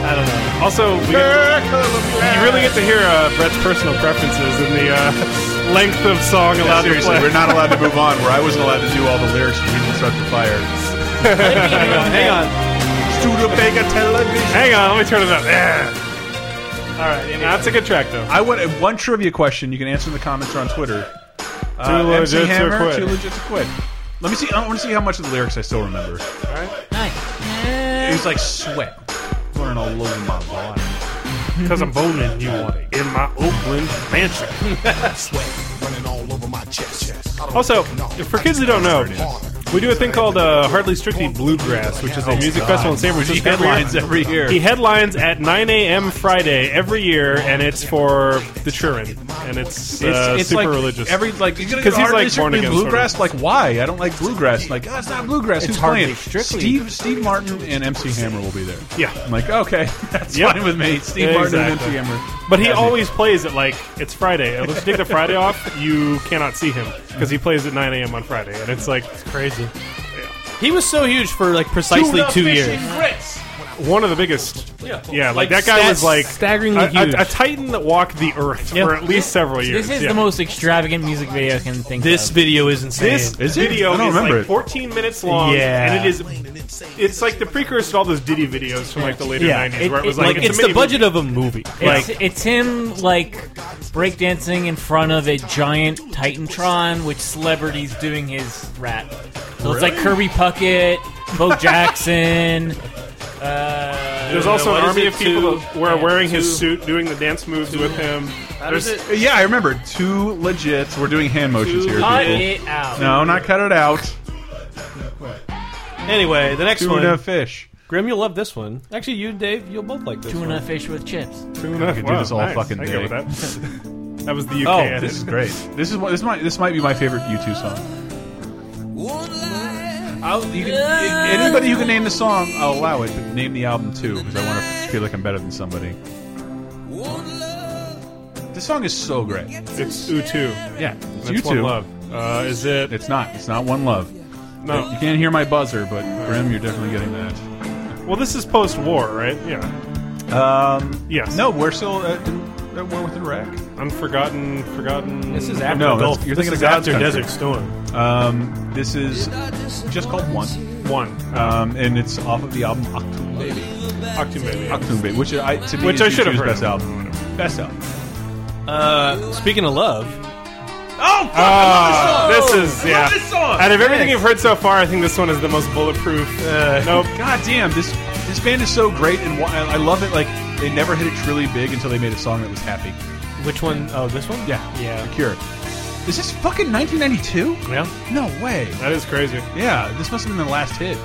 Speaker 3: I don't know.
Speaker 4: Also, we get, you really get to hear uh, Brett's personal preferences and the uh, length of song allowed to
Speaker 2: Seriously,
Speaker 4: play.
Speaker 2: we're not allowed to move on. Where I wasn't allowed to do all the lyrics from Agent Start the Fire.
Speaker 3: Hang on.
Speaker 4: Uh, Hang on, let me turn it up. Yeah. All right, anyway. that's a good track though.
Speaker 2: I want uh, one trivia question. You can answer in the comments or on Twitter. Uh,
Speaker 4: Too
Speaker 2: MC
Speaker 4: legit to
Speaker 2: Hammer,
Speaker 4: quit.
Speaker 2: Too legit to quit. Let me see. I want to see how much of the lyrics I still remember. It was like sweat pouring all over my body.
Speaker 4: Because I'm boning you in my Oakland mansion.
Speaker 10: Running all over my chest.
Speaker 4: Also, for kids that don't know, we do a thing called uh, Hardly Strictly Bluegrass, which is a music festival in San
Speaker 2: He
Speaker 4: Francisco. every year.
Speaker 2: headlines every year.
Speaker 4: He headlines at 9 a.m. Friday every year, and it's for the Churin, and it's, uh, super
Speaker 2: like
Speaker 4: religious.
Speaker 2: Every like he's gonna
Speaker 4: 'Cause
Speaker 2: go
Speaker 4: he's,
Speaker 2: hardly
Speaker 4: like, born
Speaker 2: strictly
Speaker 4: again,
Speaker 2: bluegrass. Like why? I don't like bluegrass. Like oh, it's not bluegrass. Who's
Speaker 3: hardly
Speaker 2: playing?
Speaker 3: strictly-
Speaker 2: Steve Steve Martin and MC Hammer will be there.
Speaker 4: Yeah.
Speaker 2: I'm like okay, that's
Speaker 4: Yep.
Speaker 2: fine with me. Steve Martin and MC
Speaker 4: Exactly.
Speaker 2: Hammer.
Speaker 4: but he
Speaker 2: That's it.
Speaker 4: always plays it like it's Friday. Unless you take the Friday off, you cannot see him because he plays at 9 a.m. on Friday, and it's like it's crazy.
Speaker 3: He was so huge for like precisely two years.
Speaker 4: One of the biggest. Yeah, like, that guy
Speaker 3: sta-
Speaker 4: was like
Speaker 3: staggeringly
Speaker 4: a,
Speaker 3: huge.
Speaker 4: a, a titan that walked the earth for at least several years.
Speaker 5: This is
Speaker 4: yeah.
Speaker 5: the most extravagant music video I can think
Speaker 3: this
Speaker 5: of.
Speaker 3: video is insane.
Speaker 4: This
Speaker 2: Is it?
Speaker 4: video
Speaker 2: I don't
Speaker 4: is
Speaker 2: remember
Speaker 4: like
Speaker 2: it.
Speaker 4: 14 minutes long,
Speaker 3: Yeah.
Speaker 4: and it is. It's like the precursor to all those Diddy videos from like the later
Speaker 3: yeah,
Speaker 4: 90s,
Speaker 3: it-
Speaker 4: where it was
Speaker 3: it-
Speaker 4: like,
Speaker 3: like, it's
Speaker 4: a
Speaker 3: the
Speaker 4: mini
Speaker 3: budget of a movie.
Speaker 5: It's,
Speaker 3: Like
Speaker 5: it's him like breakdancing in front of a giant Titantron with celebrities doing his rap. So it's like Kirby Puckett, Bo Jackson. Uh,
Speaker 4: There's also
Speaker 3: what
Speaker 4: an
Speaker 3: is
Speaker 4: army
Speaker 3: it?
Speaker 4: of people
Speaker 3: Two-
Speaker 4: who are
Speaker 3: yeah,
Speaker 4: wearing
Speaker 3: two-
Speaker 4: his suit, doing the dance moves with him. There's,
Speaker 2: Yeah, I remember. Two legits. We're doing hand motions here.
Speaker 5: cut
Speaker 2: people.
Speaker 5: it out.
Speaker 2: No, not cut it out.
Speaker 3: anyway, the next
Speaker 2: Tuna
Speaker 3: one.
Speaker 2: fish.
Speaker 3: Grim, you'll love this one. Actually, you and Dave, you'll both like this
Speaker 5: Tuna
Speaker 3: one.
Speaker 5: fish with chips.
Speaker 4: I
Speaker 2: could do this all fucking day.
Speaker 4: That. that was the UK.
Speaker 2: Oh,
Speaker 4: edit.
Speaker 2: this is great. This is one- this might this might be my favorite U2 song. I'll, Oh, you can, a- anybody who can name the song, oh, I'll allow it. But name the album too, because I want to feel like I'm better than somebody. This song is so great.
Speaker 4: It's U2.
Speaker 2: Yeah, it's
Speaker 4: That's One
Speaker 2: U2.
Speaker 4: Love. Uh, is it?
Speaker 2: It's not. It's not one love. You
Speaker 4: no.
Speaker 2: can't hear my buzzer, but Grim, you're definitely getting that.
Speaker 4: Well, this is post-war, right? Yeah.
Speaker 2: Um,
Speaker 4: Yes.
Speaker 2: no, we're still at, in- at war with Iraq.
Speaker 4: Unforgotten, forgotten.
Speaker 3: This is after
Speaker 2: No,
Speaker 3: the
Speaker 2: Oh, that's-
Speaker 3: Gulf.
Speaker 2: you're
Speaker 3: This
Speaker 2: thinking
Speaker 3: is
Speaker 2: of God's
Speaker 3: after
Speaker 2: country.
Speaker 3: Desert Storm.
Speaker 2: Um, this is just called one,
Speaker 4: one.
Speaker 2: um, and it's off of the album Octoon Baby.
Speaker 4: Octane Baby.
Speaker 2: Octoon Baby, which I to me
Speaker 4: Which
Speaker 2: is
Speaker 4: I should have
Speaker 2: U2's
Speaker 4: heard.
Speaker 2: best album. Best album.
Speaker 3: Uh, speaking of love,
Speaker 2: Oh,
Speaker 3: Oh,
Speaker 4: Ah, this is yeah.
Speaker 2: this song.
Speaker 4: Out of everything you've heard so far, I think this one is the most bulletproof. Uh, nope.
Speaker 2: God damn, this this band is so great, and wh- I I love it. Like they never hit it truly big until they made a song that was happy.
Speaker 3: which one? Oh, this one.
Speaker 2: Yeah,
Speaker 4: Yeah.
Speaker 2: The Cure. Is this fucking 1992?
Speaker 4: Yeah,
Speaker 2: No way.
Speaker 4: that is crazy.
Speaker 2: Yeah, this must have been the last hit.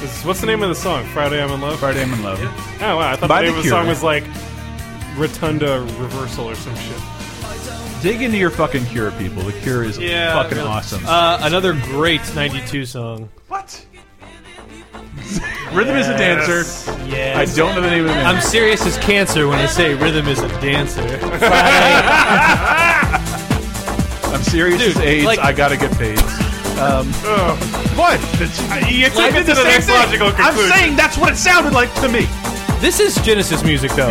Speaker 4: This is- what's the name of the song? Friday I'm in Love.
Speaker 2: Friday I'm in Love.
Speaker 4: Oh wow, I thought
Speaker 2: By
Speaker 4: the
Speaker 2: The
Speaker 4: name of the
Speaker 2: Cure.
Speaker 4: song was like Rotunda Reversal or some shit.
Speaker 2: Dig into your fucking Cure, people. The Cure is fucking awesome.
Speaker 3: Uh, another great '92 song.
Speaker 2: what? Rhythm is a dancer.
Speaker 3: Yeah.
Speaker 2: I don't know the name of the band.
Speaker 3: I'm serious as cancer when I say rhythm is a dancer.
Speaker 2: I'm serious
Speaker 3: Dude,
Speaker 2: as AIDS.
Speaker 3: like-
Speaker 2: I gotta get paid. Um, what? It's,
Speaker 4: you took
Speaker 2: I
Speaker 4: it
Speaker 2: did
Speaker 4: to the,
Speaker 2: same
Speaker 4: next
Speaker 2: thing.
Speaker 4: logical conclusion.
Speaker 2: I'm saying that's what it sounded like to me.
Speaker 3: This is Genesis music though.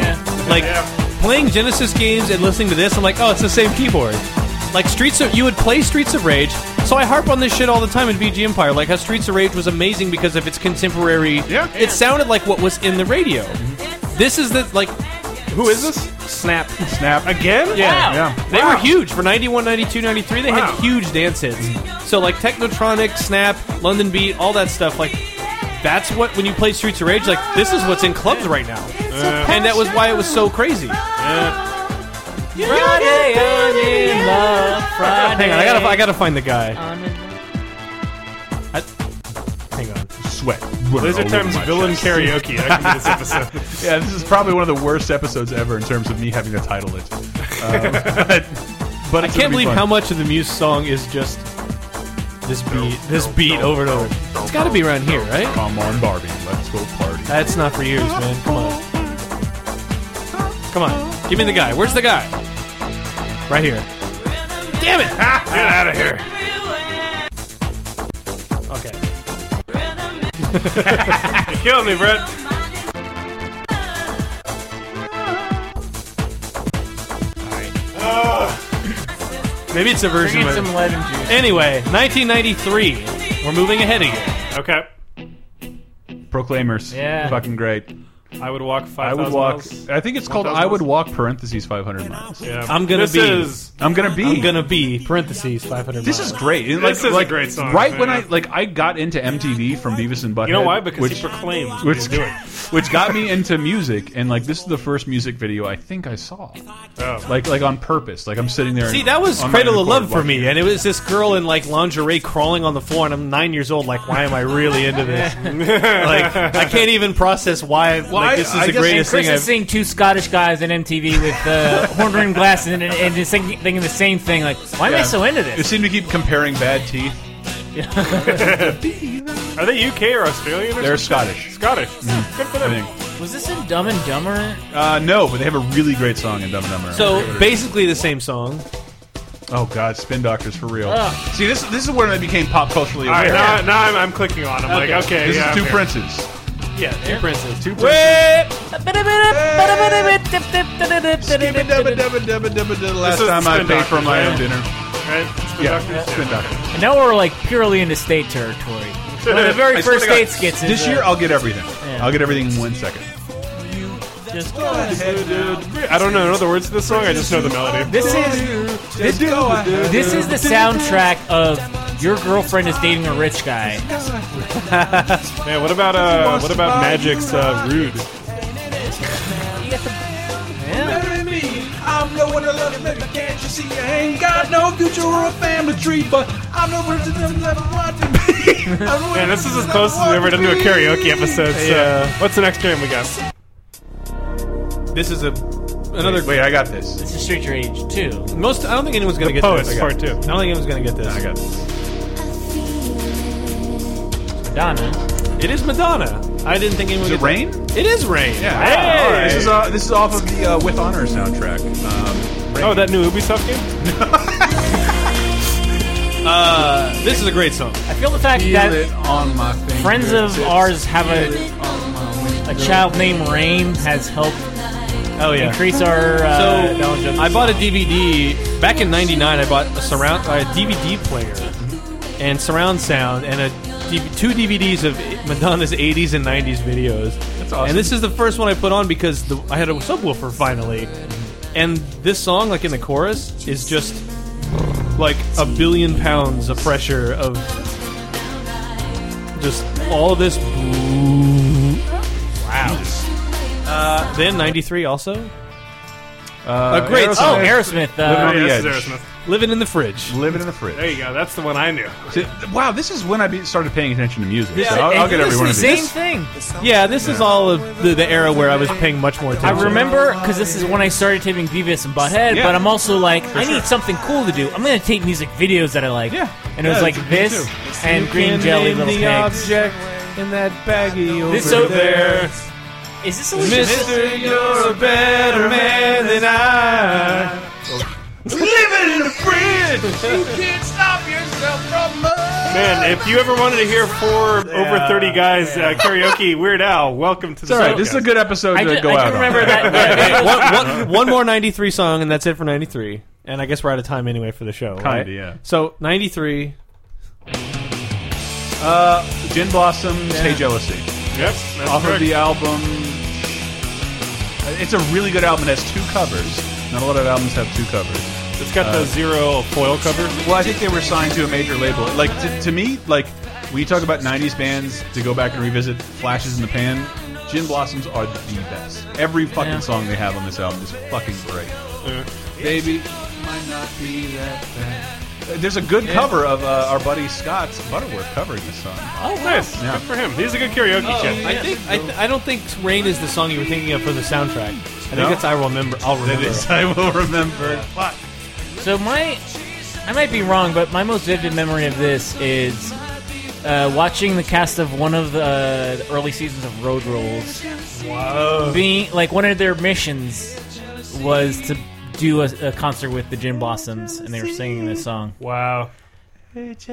Speaker 3: Like
Speaker 4: Yeah.
Speaker 3: playing Genesis games and listening to this, I'm like, oh, it's the same keyboard. Like Streets of you would play Streets of Rage. So I harp on this shit all the time in VG Empire, like how Streets of Rage was amazing because of its contemporary.
Speaker 2: Yeah.
Speaker 3: It sounded like what was in the radio.
Speaker 4: Mm-hmm.
Speaker 3: This is the like
Speaker 4: Who is this?
Speaker 3: snap.
Speaker 2: Snap
Speaker 4: Again?
Speaker 3: Yeah.
Speaker 2: Yeah.
Speaker 3: They
Speaker 4: Wow.
Speaker 3: were huge for 91, 92, 93. They
Speaker 4: Wow.
Speaker 3: had huge dance hits. So like Technotronic, Snap, London Beat, all that stuff like that's what when you play Streets of Rage, like this is what's in clubs right now.
Speaker 4: Uh,
Speaker 3: And that was why it was so crazy.
Speaker 4: uh,
Speaker 3: Friday,
Speaker 5: Friday, I'm in love. Friday.
Speaker 3: Hang on, I gotta, I gotta find the guy.
Speaker 5: I'm in love.
Speaker 4: Hang on.
Speaker 2: Sweat. running
Speaker 4: Laser
Speaker 2: all
Speaker 4: Time's
Speaker 2: over my
Speaker 4: villain
Speaker 2: chest.
Speaker 4: karaoke. That could be this episode.
Speaker 2: Yeah, this is probably one of the worst episodes ever in terms of me having to title it. Um, but but
Speaker 3: I
Speaker 2: it's
Speaker 3: can't
Speaker 2: gonna be
Speaker 3: believe
Speaker 2: fun.
Speaker 3: how much of the Muse song is just this beat, this beat over and over. It's gotta be around here, right?
Speaker 2: Come on, Barbie, let's go party.
Speaker 3: That's not for years, man. Come on. Come on. Give me the guy. Where's the guy? Right here. Damn it!
Speaker 4: Get out of here.
Speaker 3: Okay.
Speaker 4: Kill me, Brett.
Speaker 3: Maybe it's a version
Speaker 5: Bring in
Speaker 3: of it.
Speaker 5: some lemon juice.
Speaker 3: Anyway, 1993. We're moving ahead again.
Speaker 4: Okay.
Speaker 2: Proclaimers.
Speaker 5: Yeah.
Speaker 2: Fucking great.
Speaker 4: I would walk five.
Speaker 2: I would walk. I think it's called
Speaker 4: 1,000
Speaker 2: I would
Speaker 4: miles?
Speaker 2: walk parentheses 500 miles.
Speaker 4: Yeah.
Speaker 3: I'm gonna
Speaker 4: this
Speaker 3: be-
Speaker 4: Is,
Speaker 2: I'm gonna be.
Speaker 3: I'm gonna be parentheses 500.
Speaker 2: This is great. This
Speaker 4: is a great song,
Speaker 2: Right when I
Speaker 4: man.
Speaker 2: like, I got into MTV from Beavis and Butthead.
Speaker 4: you know why? Because
Speaker 2: which,
Speaker 4: he proclaimed.
Speaker 2: which,
Speaker 4: Which do it.
Speaker 2: which got me into music, and like this is the first music video I think I saw,
Speaker 4: Oh.
Speaker 2: like like on purpose. Like I'm sitting there.
Speaker 3: See,
Speaker 2: and-
Speaker 3: that was
Speaker 2: on my
Speaker 3: Cradle of
Speaker 2: record
Speaker 3: Love for
Speaker 2: watching
Speaker 3: me,
Speaker 2: it.
Speaker 3: and it was this girl in like lingerie crawling on the floor, and I'm nine years old. Like, why am I really into this? like, I can't even process why.
Speaker 2: I-
Speaker 3: like, this is
Speaker 2: I
Speaker 3: the
Speaker 2: guess-
Speaker 3: greatest
Speaker 5: Chris
Speaker 3: thing
Speaker 5: is
Speaker 3: I've.
Speaker 5: seeing two Scottish guys in MTV with uh, horn rimmed glasses and, and, and just thinking, thinking the same thing. Like, why am I
Speaker 2: Yeah.
Speaker 5: so into
Speaker 2: It
Speaker 5: this?
Speaker 2: seemed to keep comparing bad teeth.
Speaker 4: Are they UK or Australian? Or
Speaker 2: They're Mm-hmm.
Speaker 4: something?
Speaker 2: Scottish.
Speaker 4: Scottish. Good for
Speaker 2: I
Speaker 4: them.
Speaker 2: think.
Speaker 5: Was this in Dumb and Dumber?
Speaker 2: Uh, no, but they have a really great song in Dumb and Dumber.
Speaker 3: So basically the same song.
Speaker 2: oh god, Spin Doctors for real.
Speaker 5: Ah.
Speaker 2: See, this this is when I became pop culturally
Speaker 4: All
Speaker 2: aware.
Speaker 4: right, now, now I'm, I'm clicking on. I'm like, okay,
Speaker 2: this
Speaker 4: yeah,
Speaker 2: is two
Speaker 4: I'm here.
Speaker 2: princes.
Speaker 4: Yeah, two princes.
Speaker 2: Two princes.
Speaker 5: And
Speaker 2: Last
Speaker 4: This is
Speaker 2: time I
Speaker 4: Spin
Speaker 2: paid for
Speaker 4: Doctors,
Speaker 2: my
Speaker 4: right?
Speaker 2: own dinner.
Speaker 4: Right? It's been
Speaker 2: Yeah,
Speaker 4: Doctors,
Speaker 2: Spin Doctors.
Speaker 5: now we're like purely into state territory. One of the
Speaker 2: I
Speaker 5: very
Speaker 2: swear
Speaker 5: first
Speaker 2: to God,
Speaker 5: state skits is
Speaker 2: This
Speaker 5: uh,
Speaker 2: year, I'll get everything.
Speaker 5: Yeah.
Speaker 2: I'll get everything in one second.
Speaker 5: just go ahead.
Speaker 4: I don't know, know the words to this song. I just know the melody.
Speaker 5: This is
Speaker 2: This dude,
Speaker 5: this is the soundtrack of your girlfriend is dating a rich guy.
Speaker 4: Man, what about uh, what about Magic's uh, "Rude"?
Speaker 2: I'm no one to love you, baby. Can't you see? I ain't got no future or a family tree, but I'm no one to never want to be.
Speaker 4: Man, this is as close as we've ever done to a karaoke episode. So,
Speaker 3: Yeah.
Speaker 4: what's the next jam we got?
Speaker 3: This is a another.
Speaker 2: Wait, I got this.
Speaker 5: This is Street Your Age too.
Speaker 3: Most. I don't think anyone's gonna get
Speaker 4: Poets
Speaker 3: this.
Speaker 4: part two.
Speaker 3: I don't think anyone's gonna get
Speaker 2: I
Speaker 3: this.
Speaker 2: got this.
Speaker 5: Madonna.
Speaker 3: It is Madonna. I didn't think anyone.
Speaker 2: Is it
Speaker 3: would get
Speaker 2: rain?
Speaker 3: that. It is rain.
Speaker 2: Yeah.
Speaker 4: Hey!
Speaker 2: All right. This is uh, this is off of the uh, With Honor soundtrack. Um, rain.
Speaker 4: Oh, that new Ubisoft game.
Speaker 3: Uh, this is a great song.
Speaker 5: I feel the fact
Speaker 2: Feel
Speaker 5: that
Speaker 2: it on my
Speaker 5: friends of
Speaker 2: fingertips.
Speaker 5: ours have a a child named Rain has helped
Speaker 3: Oh yeah.
Speaker 5: increase our uh,
Speaker 3: So
Speaker 5: knowledge of
Speaker 3: I bought a DVD back in '99. I bought a surround uh, a DVD player and surround sound and a D- two DVDs of Madonna's '80s and '90s videos. That's
Speaker 2: awesome.
Speaker 3: And this is the first one I put on because the, I had a subwoofer finally, and this song, like in the chorus, is just like a billion pounds of pressure of just all this. Wow.
Speaker 4: Oh,
Speaker 3: Uh, then '93 also.
Speaker 2: Uh,
Speaker 3: a great
Speaker 2: Aerosmith.
Speaker 5: Oh,
Speaker 3: song.
Speaker 5: Aerosmith.
Speaker 2: Living on
Speaker 5: Uh,
Speaker 2: the
Speaker 4: yes,
Speaker 2: edge.
Speaker 4: Aerosmith.
Speaker 3: Living in the fridge.
Speaker 2: Living in the fridge.
Speaker 4: There you go. That's the one I knew.
Speaker 2: See, th- Wow, this is when I be, started paying attention to music.
Speaker 3: Yeah,
Speaker 2: so I'll,
Speaker 5: and
Speaker 2: I'll get
Speaker 5: it's
Speaker 2: every one
Speaker 5: the
Speaker 2: of
Speaker 5: same
Speaker 2: these.
Speaker 5: thing.
Speaker 3: Yeah, this is all of the, the era where I was paying much more
Speaker 5: I
Speaker 3: attention.
Speaker 5: remember because this is when I started taping Beavis and Butthead,
Speaker 2: Yeah.
Speaker 5: but I'm also like, I need something cool to do. I'm gonna tape music videos that I like.
Speaker 2: Yeah.
Speaker 5: And it was
Speaker 2: Yeah,
Speaker 5: like
Speaker 2: me
Speaker 5: this
Speaker 2: too.
Speaker 5: and Green Jelly Little Pigs.
Speaker 3: in that baggie over
Speaker 5: This over there. Is this Alicia Mis-
Speaker 3: you're a better man than I.
Speaker 2: Living in the fridge.
Speaker 4: Man, if you ever wanted to hear four over thirty guys uh, karaoke Weird Al, welcome to the
Speaker 2: All right,
Speaker 4: podcast.
Speaker 2: this is a good episode
Speaker 5: I
Speaker 2: to
Speaker 5: do,
Speaker 2: go
Speaker 5: I do
Speaker 2: out
Speaker 5: remember
Speaker 2: on.
Speaker 5: that. yeah,
Speaker 3: Hey, one, one, one more 93 song, and that's it for 93. And I guess we're out of time anyway for the show.
Speaker 2: Kinda,
Speaker 3: right?
Speaker 2: yeah.
Speaker 3: So, 93.
Speaker 2: Gin Blossoms, Hey Jealousy,
Speaker 4: Yep, that's
Speaker 2: off of
Speaker 4: correct.
Speaker 2: the album. It's a really good album. It has two covers. Not a lot of albums have two covers.
Speaker 4: It's got
Speaker 2: Uh,
Speaker 4: the zero foil cover.
Speaker 2: Well, I think they were signed to a major label. Like to, to me, like when you talk about '90s bands to go back and revisit Flashes in the Pan, Gin Blossoms are the best. Every fucking
Speaker 5: Yeah.
Speaker 2: song they have on this album is fucking great. Baby, might not be that bad. There's a good cover of uh, our buddy Scott's Butterworth covering this song.
Speaker 4: Oh, nice.
Speaker 2: Yeah. Oh.
Speaker 4: Good for him. He's a good karaoke kid.
Speaker 3: I think I, th- I don't think "Rain" is the song you were thinking of for the soundtrack. I think
Speaker 2: No?
Speaker 3: that's "I Remember." I'll
Speaker 2: That
Speaker 3: remember.
Speaker 2: is, I will remember. Fuck.
Speaker 5: So my, I might be wrong, but my most vivid memory of this is uh, watching the cast of one of the uh, early seasons of Road Rules. Wow. Being like one of their missions was to do a, a concert with the Gin Blossoms, and they were singing this song.
Speaker 4: Wow.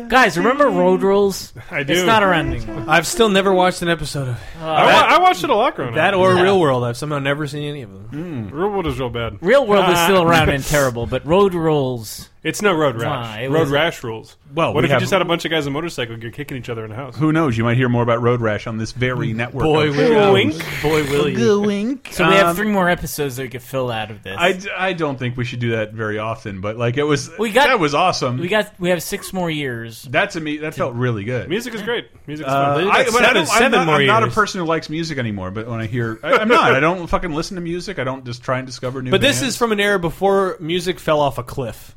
Speaker 5: Guys, remember Road Rules?
Speaker 4: I do.
Speaker 5: It's not around anymore.
Speaker 3: I've still never watched an episode of
Speaker 4: I, wa- I watched it a lot growing
Speaker 3: that
Speaker 4: up.
Speaker 3: or
Speaker 5: Yeah.
Speaker 3: Real World. I've somehow never seen any of them.
Speaker 4: Real World is real bad.
Speaker 5: Real World is still around and terrible, but Road Rules.
Speaker 4: It's no road
Speaker 5: Nah,
Speaker 4: rash.
Speaker 5: it
Speaker 4: road
Speaker 5: was-
Speaker 4: rash rules.
Speaker 2: Well,
Speaker 4: what
Speaker 2: we
Speaker 4: if you
Speaker 2: have-
Speaker 4: just had a bunch of guys on motorcycle you're kicking each other in the house?
Speaker 2: Who knows? You might hear more about Road Rash on this very network.
Speaker 3: Boy,
Speaker 2: of
Speaker 3: Willie.
Speaker 2: shows.
Speaker 3: Boy, Willie.
Speaker 5: So we
Speaker 4: Um,
Speaker 5: have three more episodes that we could fill out of this.
Speaker 2: I, I don't think we should do that very often, but like it was
Speaker 5: We got-
Speaker 2: that was awesome.
Speaker 5: we got we have six more years.
Speaker 2: that to me that felt really good.
Speaker 4: Music is great. Music is
Speaker 2: Uh, I,
Speaker 4: fun.
Speaker 2: but I
Speaker 3: seven-
Speaker 2: don't, I'm,
Speaker 3: seven
Speaker 2: not,
Speaker 3: more
Speaker 2: I'm not a
Speaker 3: years.
Speaker 2: person who likes music anymore. But when I hear, I, I'm not. I don't fucking listen to music. I don't just try and discover new.
Speaker 3: But this
Speaker 2: bands.
Speaker 3: is from an era before music fell off a cliff.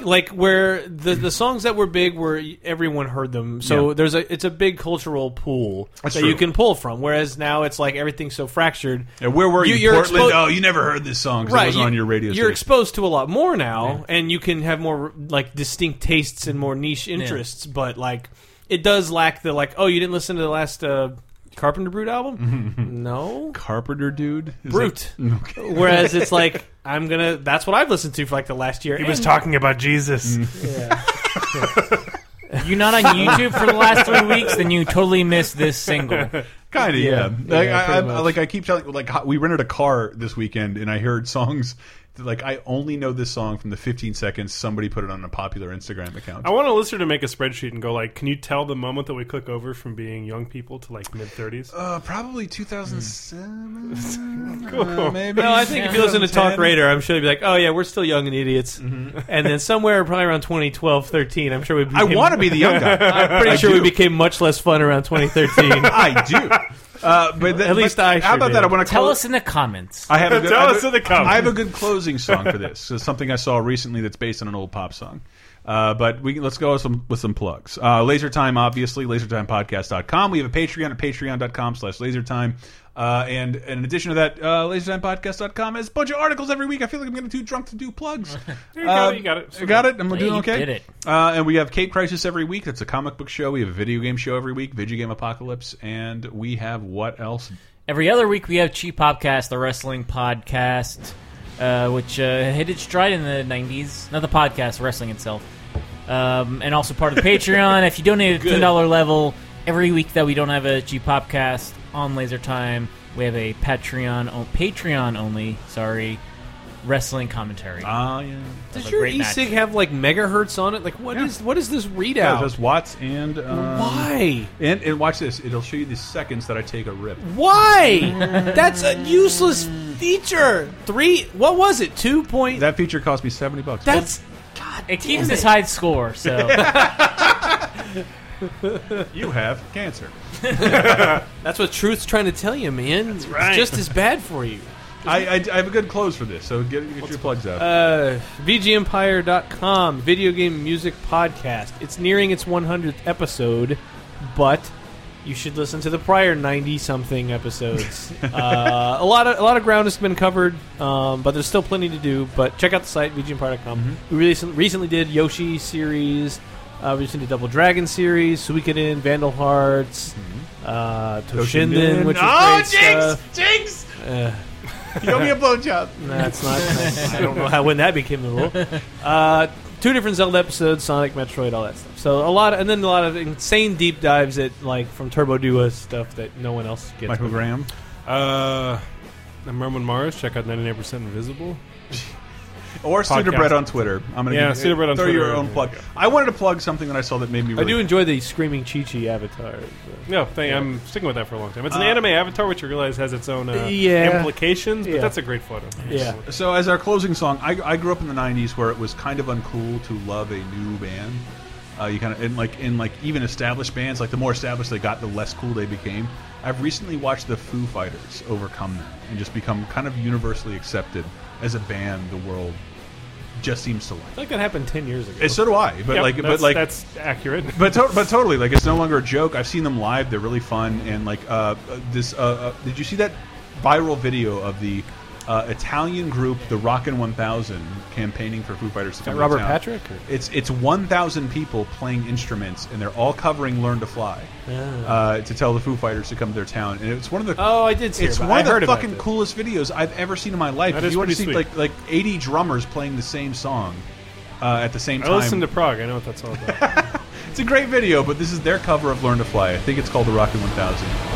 Speaker 2: Uh,
Speaker 3: like where the the songs that were big were everyone heard them. So
Speaker 2: Yeah.
Speaker 3: there's a it's a big cultural pool
Speaker 2: That's
Speaker 3: that
Speaker 2: true.
Speaker 3: you can pull from. Whereas now it's like everything's so fractured.
Speaker 2: Yeah, where were you,
Speaker 3: You- you're
Speaker 2: Portland?
Speaker 3: expo-
Speaker 2: oh, you never heard this song. 'cause it wasn't
Speaker 3: you-
Speaker 2: on your radio.
Speaker 3: You're
Speaker 2: station.
Speaker 3: exposed to a lot more now, and you can have more like distinct tastes and more niche interests. But like, it does lack the like. Oh, you didn't listen to the last uh, Carpenter Brute album?
Speaker 2: Mm-hmm.
Speaker 3: no,
Speaker 2: Carpenter dude. Is
Speaker 3: Brute.
Speaker 2: that- okay.
Speaker 3: Whereas it's like I'm gonna. That's what I've listened to for like the last year.
Speaker 4: He
Speaker 3: and-
Speaker 4: was talking about Jesus.
Speaker 5: You're not on YouTube for the last three weeks, then you totally missed this single.
Speaker 2: Kind of, yeah. Like,
Speaker 3: yeah,
Speaker 2: I,
Speaker 3: pretty
Speaker 2: I,
Speaker 3: much.
Speaker 2: like I keep telling, like ho- we rented a car this weekend, and I heard songs. that, Like I only know this song from the 15 seconds somebody put it on a popular Instagram account.
Speaker 4: I want a listener to make a spreadsheet and go like, can you tell the moment that we click over from being young people to like mid thirties?
Speaker 2: Uh, probably 2007,
Speaker 4: Cool.
Speaker 2: uh, maybe.
Speaker 3: Hmm. No, I think if you listen to Talk Radar, I'm sure they'd be like, "Oh yeah, we're still young and idiots." And then somewhere probably around 2012, 13, I'm sure we.
Speaker 2: Mm-hmm. I
Speaker 3: Became,
Speaker 2: want to be the young guy.
Speaker 3: I'm pretty
Speaker 2: I
Speaker 3: sure we
Speaker 2: do.
Speaker 3: became much less fun around 2013.
Speaker 2: I do. Uh, but
Speaker 3: At least I
Speaker 2: How
Speaker 3: sure
Speaker 2: about
Speaker 3: do.
Speaker 2: that? I want to
Speaker 5: Tell us in the comments.
Speaker 2: I have a good,
Speaker 4: Tell
Speaker 2: I have
Speaker 4: us
Speaker 2: a-
Speaker 4: in the comments.
Speaker 2: I have a good closing song for this. It's something I saw recently that's based on an old pop song. Uh, but we can- let's go with some, with some plugs. Uh, Laser Time, obviously, lasertimepodcast.com. We have a Patreon at patreon.com slash lasertime. Uh, and in addition to that, uh, lasertimepodcast.com has a bunch of articles every week. I feel like I'm getting too drunk to do plugs.
Speaker 4: you go, you got it.
Speaker 2: I got it. I'm doing
Speaker 5: you
Speaker 2: okay.
Speaker 5: did it.
Speaker 2: Uh, and we have Cape Crisis every week. That's a comic book show. We have a video game show every week, Video Game Apocalypse. And we have what else?
Speaker 5: Every other week we have Cheap Podcast, the wrestling podcast, uh, which uh, hit its stride in the 90s. Not the podcast, wrestling itself. Um, and also part of the Patreon. if you donate at the $10 level, every week that we don't have a Cheap Podcast on Laser Time, we have a Patreon, oh, Patreon only, sorry, wrestling commentary.
Speaker 2: Ah, yeah.
Speaker 3: Does
Speaker 5: a
Speaker 3: your
Speaker 5: great
Speaker 3: e-cig
Speaker 5: match.
Speaker 3: have like megahertz on it? Like, what is what is this
Speaker 2: Yeah,
Speaker 3: readout?
Speaker 2: just Watts and. Um,
Speaker 3: Why?
Speaker 2: And, and watch this. It'll show you the seconds that I take a rip.
Speaker 3: Mm-hmm. Why? That's a useless feature. Three. What was it? Two point.
Speaker 2: That feature cost me 70 bucks.
Speaker 3: that's
Speaker 5: it keeps this high score, so.
Speaker 2: you have cancer.
Speaker 3: that's what truth's trying to tell you, man. That's
Speaker 4: right.
Speaker 3: It's just as bad for you.
Speaker 2: I, I, I have a good close for this, so get, get your plugs out.
Speaker 3: Uh, VGEmpire.com, video game music podcast. It's nearing its 100th episode, but you should listen to the prior 90 something episodes. uh, a lot of a lot of ground has been covered, um, but there's still plenty to do. But check out the site VGEmpire.com.
Speaker 2: Mm-hmm.
Speaker 3: We recently, recently did Yoshi series. Uh, we just did a Double Dragon series, Suikoden, Vandal Hearts, uh, Toshinden,
Speaker 2: Mm-hmm. Toshinden.
Speaker 3: which is
Speaker 2: Oh,
Speaker 3: great stuff.
Speaker 2: Jinx!
Speaker 3: Uh,
Speaker 2: You owe me a blowjob.
Speaker 3: that's not. I don't know how when that became the rule. Uh, two different Zelda episodes, Sonic, Metroid, all that stuff. So a lot, and then a lot of insane deep dives at like from Turbo Duo stuff that no one else gets.
Speaker 2: Michael Graham.
Speaker 4: Uh, I'm Roman Mars. Check out 99% Invisible.
Speaker 2: Or Cedar
Speaker 4: Podcast.
Speaker 2: Bread on Twitter. I'm gonna
Speaker 4: Yeah,
Speaker 2: give-
Speaker 4: Cedar Bread on
Speaker 2: throw your
Speaker 4: Twitter.
Speaker 2: own plug. I wanted to plug something that I saw that made me.
Speaker 3: I
Speaker 2: Really
Speaker 3: do enjoy the screaming Chi Chi avatar. so.
Speaker 4: No, thank, I'm sticking with that for a long time. It's an anime avatar, which you realize has its own uh,
Speaker 3: Uh, Yeah.
Speaker 4: implications, but
Speaker 3: Yeah.
Speaker 4: that's a great photo.
Speaker 3: Yeah.
Speaker 2: So as our closing song, I, I grew up in the '90s where it was kind of uncool to love a new band. Uh, you kind of and like in like even established bands, like the more established they got, the less cool they became. I've recently watched the Foo Fighters overcome that and just become kind of universally accepted as a band the world just seems to like.
Speaker 9: like that happened ten years ago.
Speaker 2: And so do I. But
Speaker 4: Yep,
Speaker 2: like, but
Speaker 4: that's-
Speaker 2: like,
Speaker 4: that's accurate.
Speaker 2: but to but totally like it's no longer a joke. I've seen them live; they're really fun. And like uh, this, uh, uh, did you see that viral video of the uh, Italian group, the Rockin' One Thousand, campaigning for Foo Fighters? To come to
Speaker 9: Robert
Speaker 2: town?
Speaker 9: Patrick, or-
Speaker 2: It's it's one thousand people playing instruments, and they're all covering "Learn to Fly"
Speaker 9: Ah.
Speaker 2: uh, to tell the Foo Fighters to come to their town. And it's one of the
Speaker 9: Oh, I did see
Speaker 2: it's
Speaker 9: about-
Speaker 2: one
Speaker 9: I
Speaker 2: of the
Speaker 9: heard about
Speaker 2: fucking
Speaker 9: this.
Speaker 2: coolest videos I've ever seen in my life.
Speaker 4: That
Speaker 2: If
Speaker 4: is
Speaker 2: you want to
Speaker 4: pretty
Speaker 2: see
Speaker 4: sweet.
Speaker 2: like like eighty drummers playing the same song uh, at the same
Speaker 4: I
Speaker 2: time.
Speaker 4: listened to Prague. I know what that's all about.
Speaker 2: It's a great video, but this is their cover of Learn to Fly. I think it's called The Rocket 1000.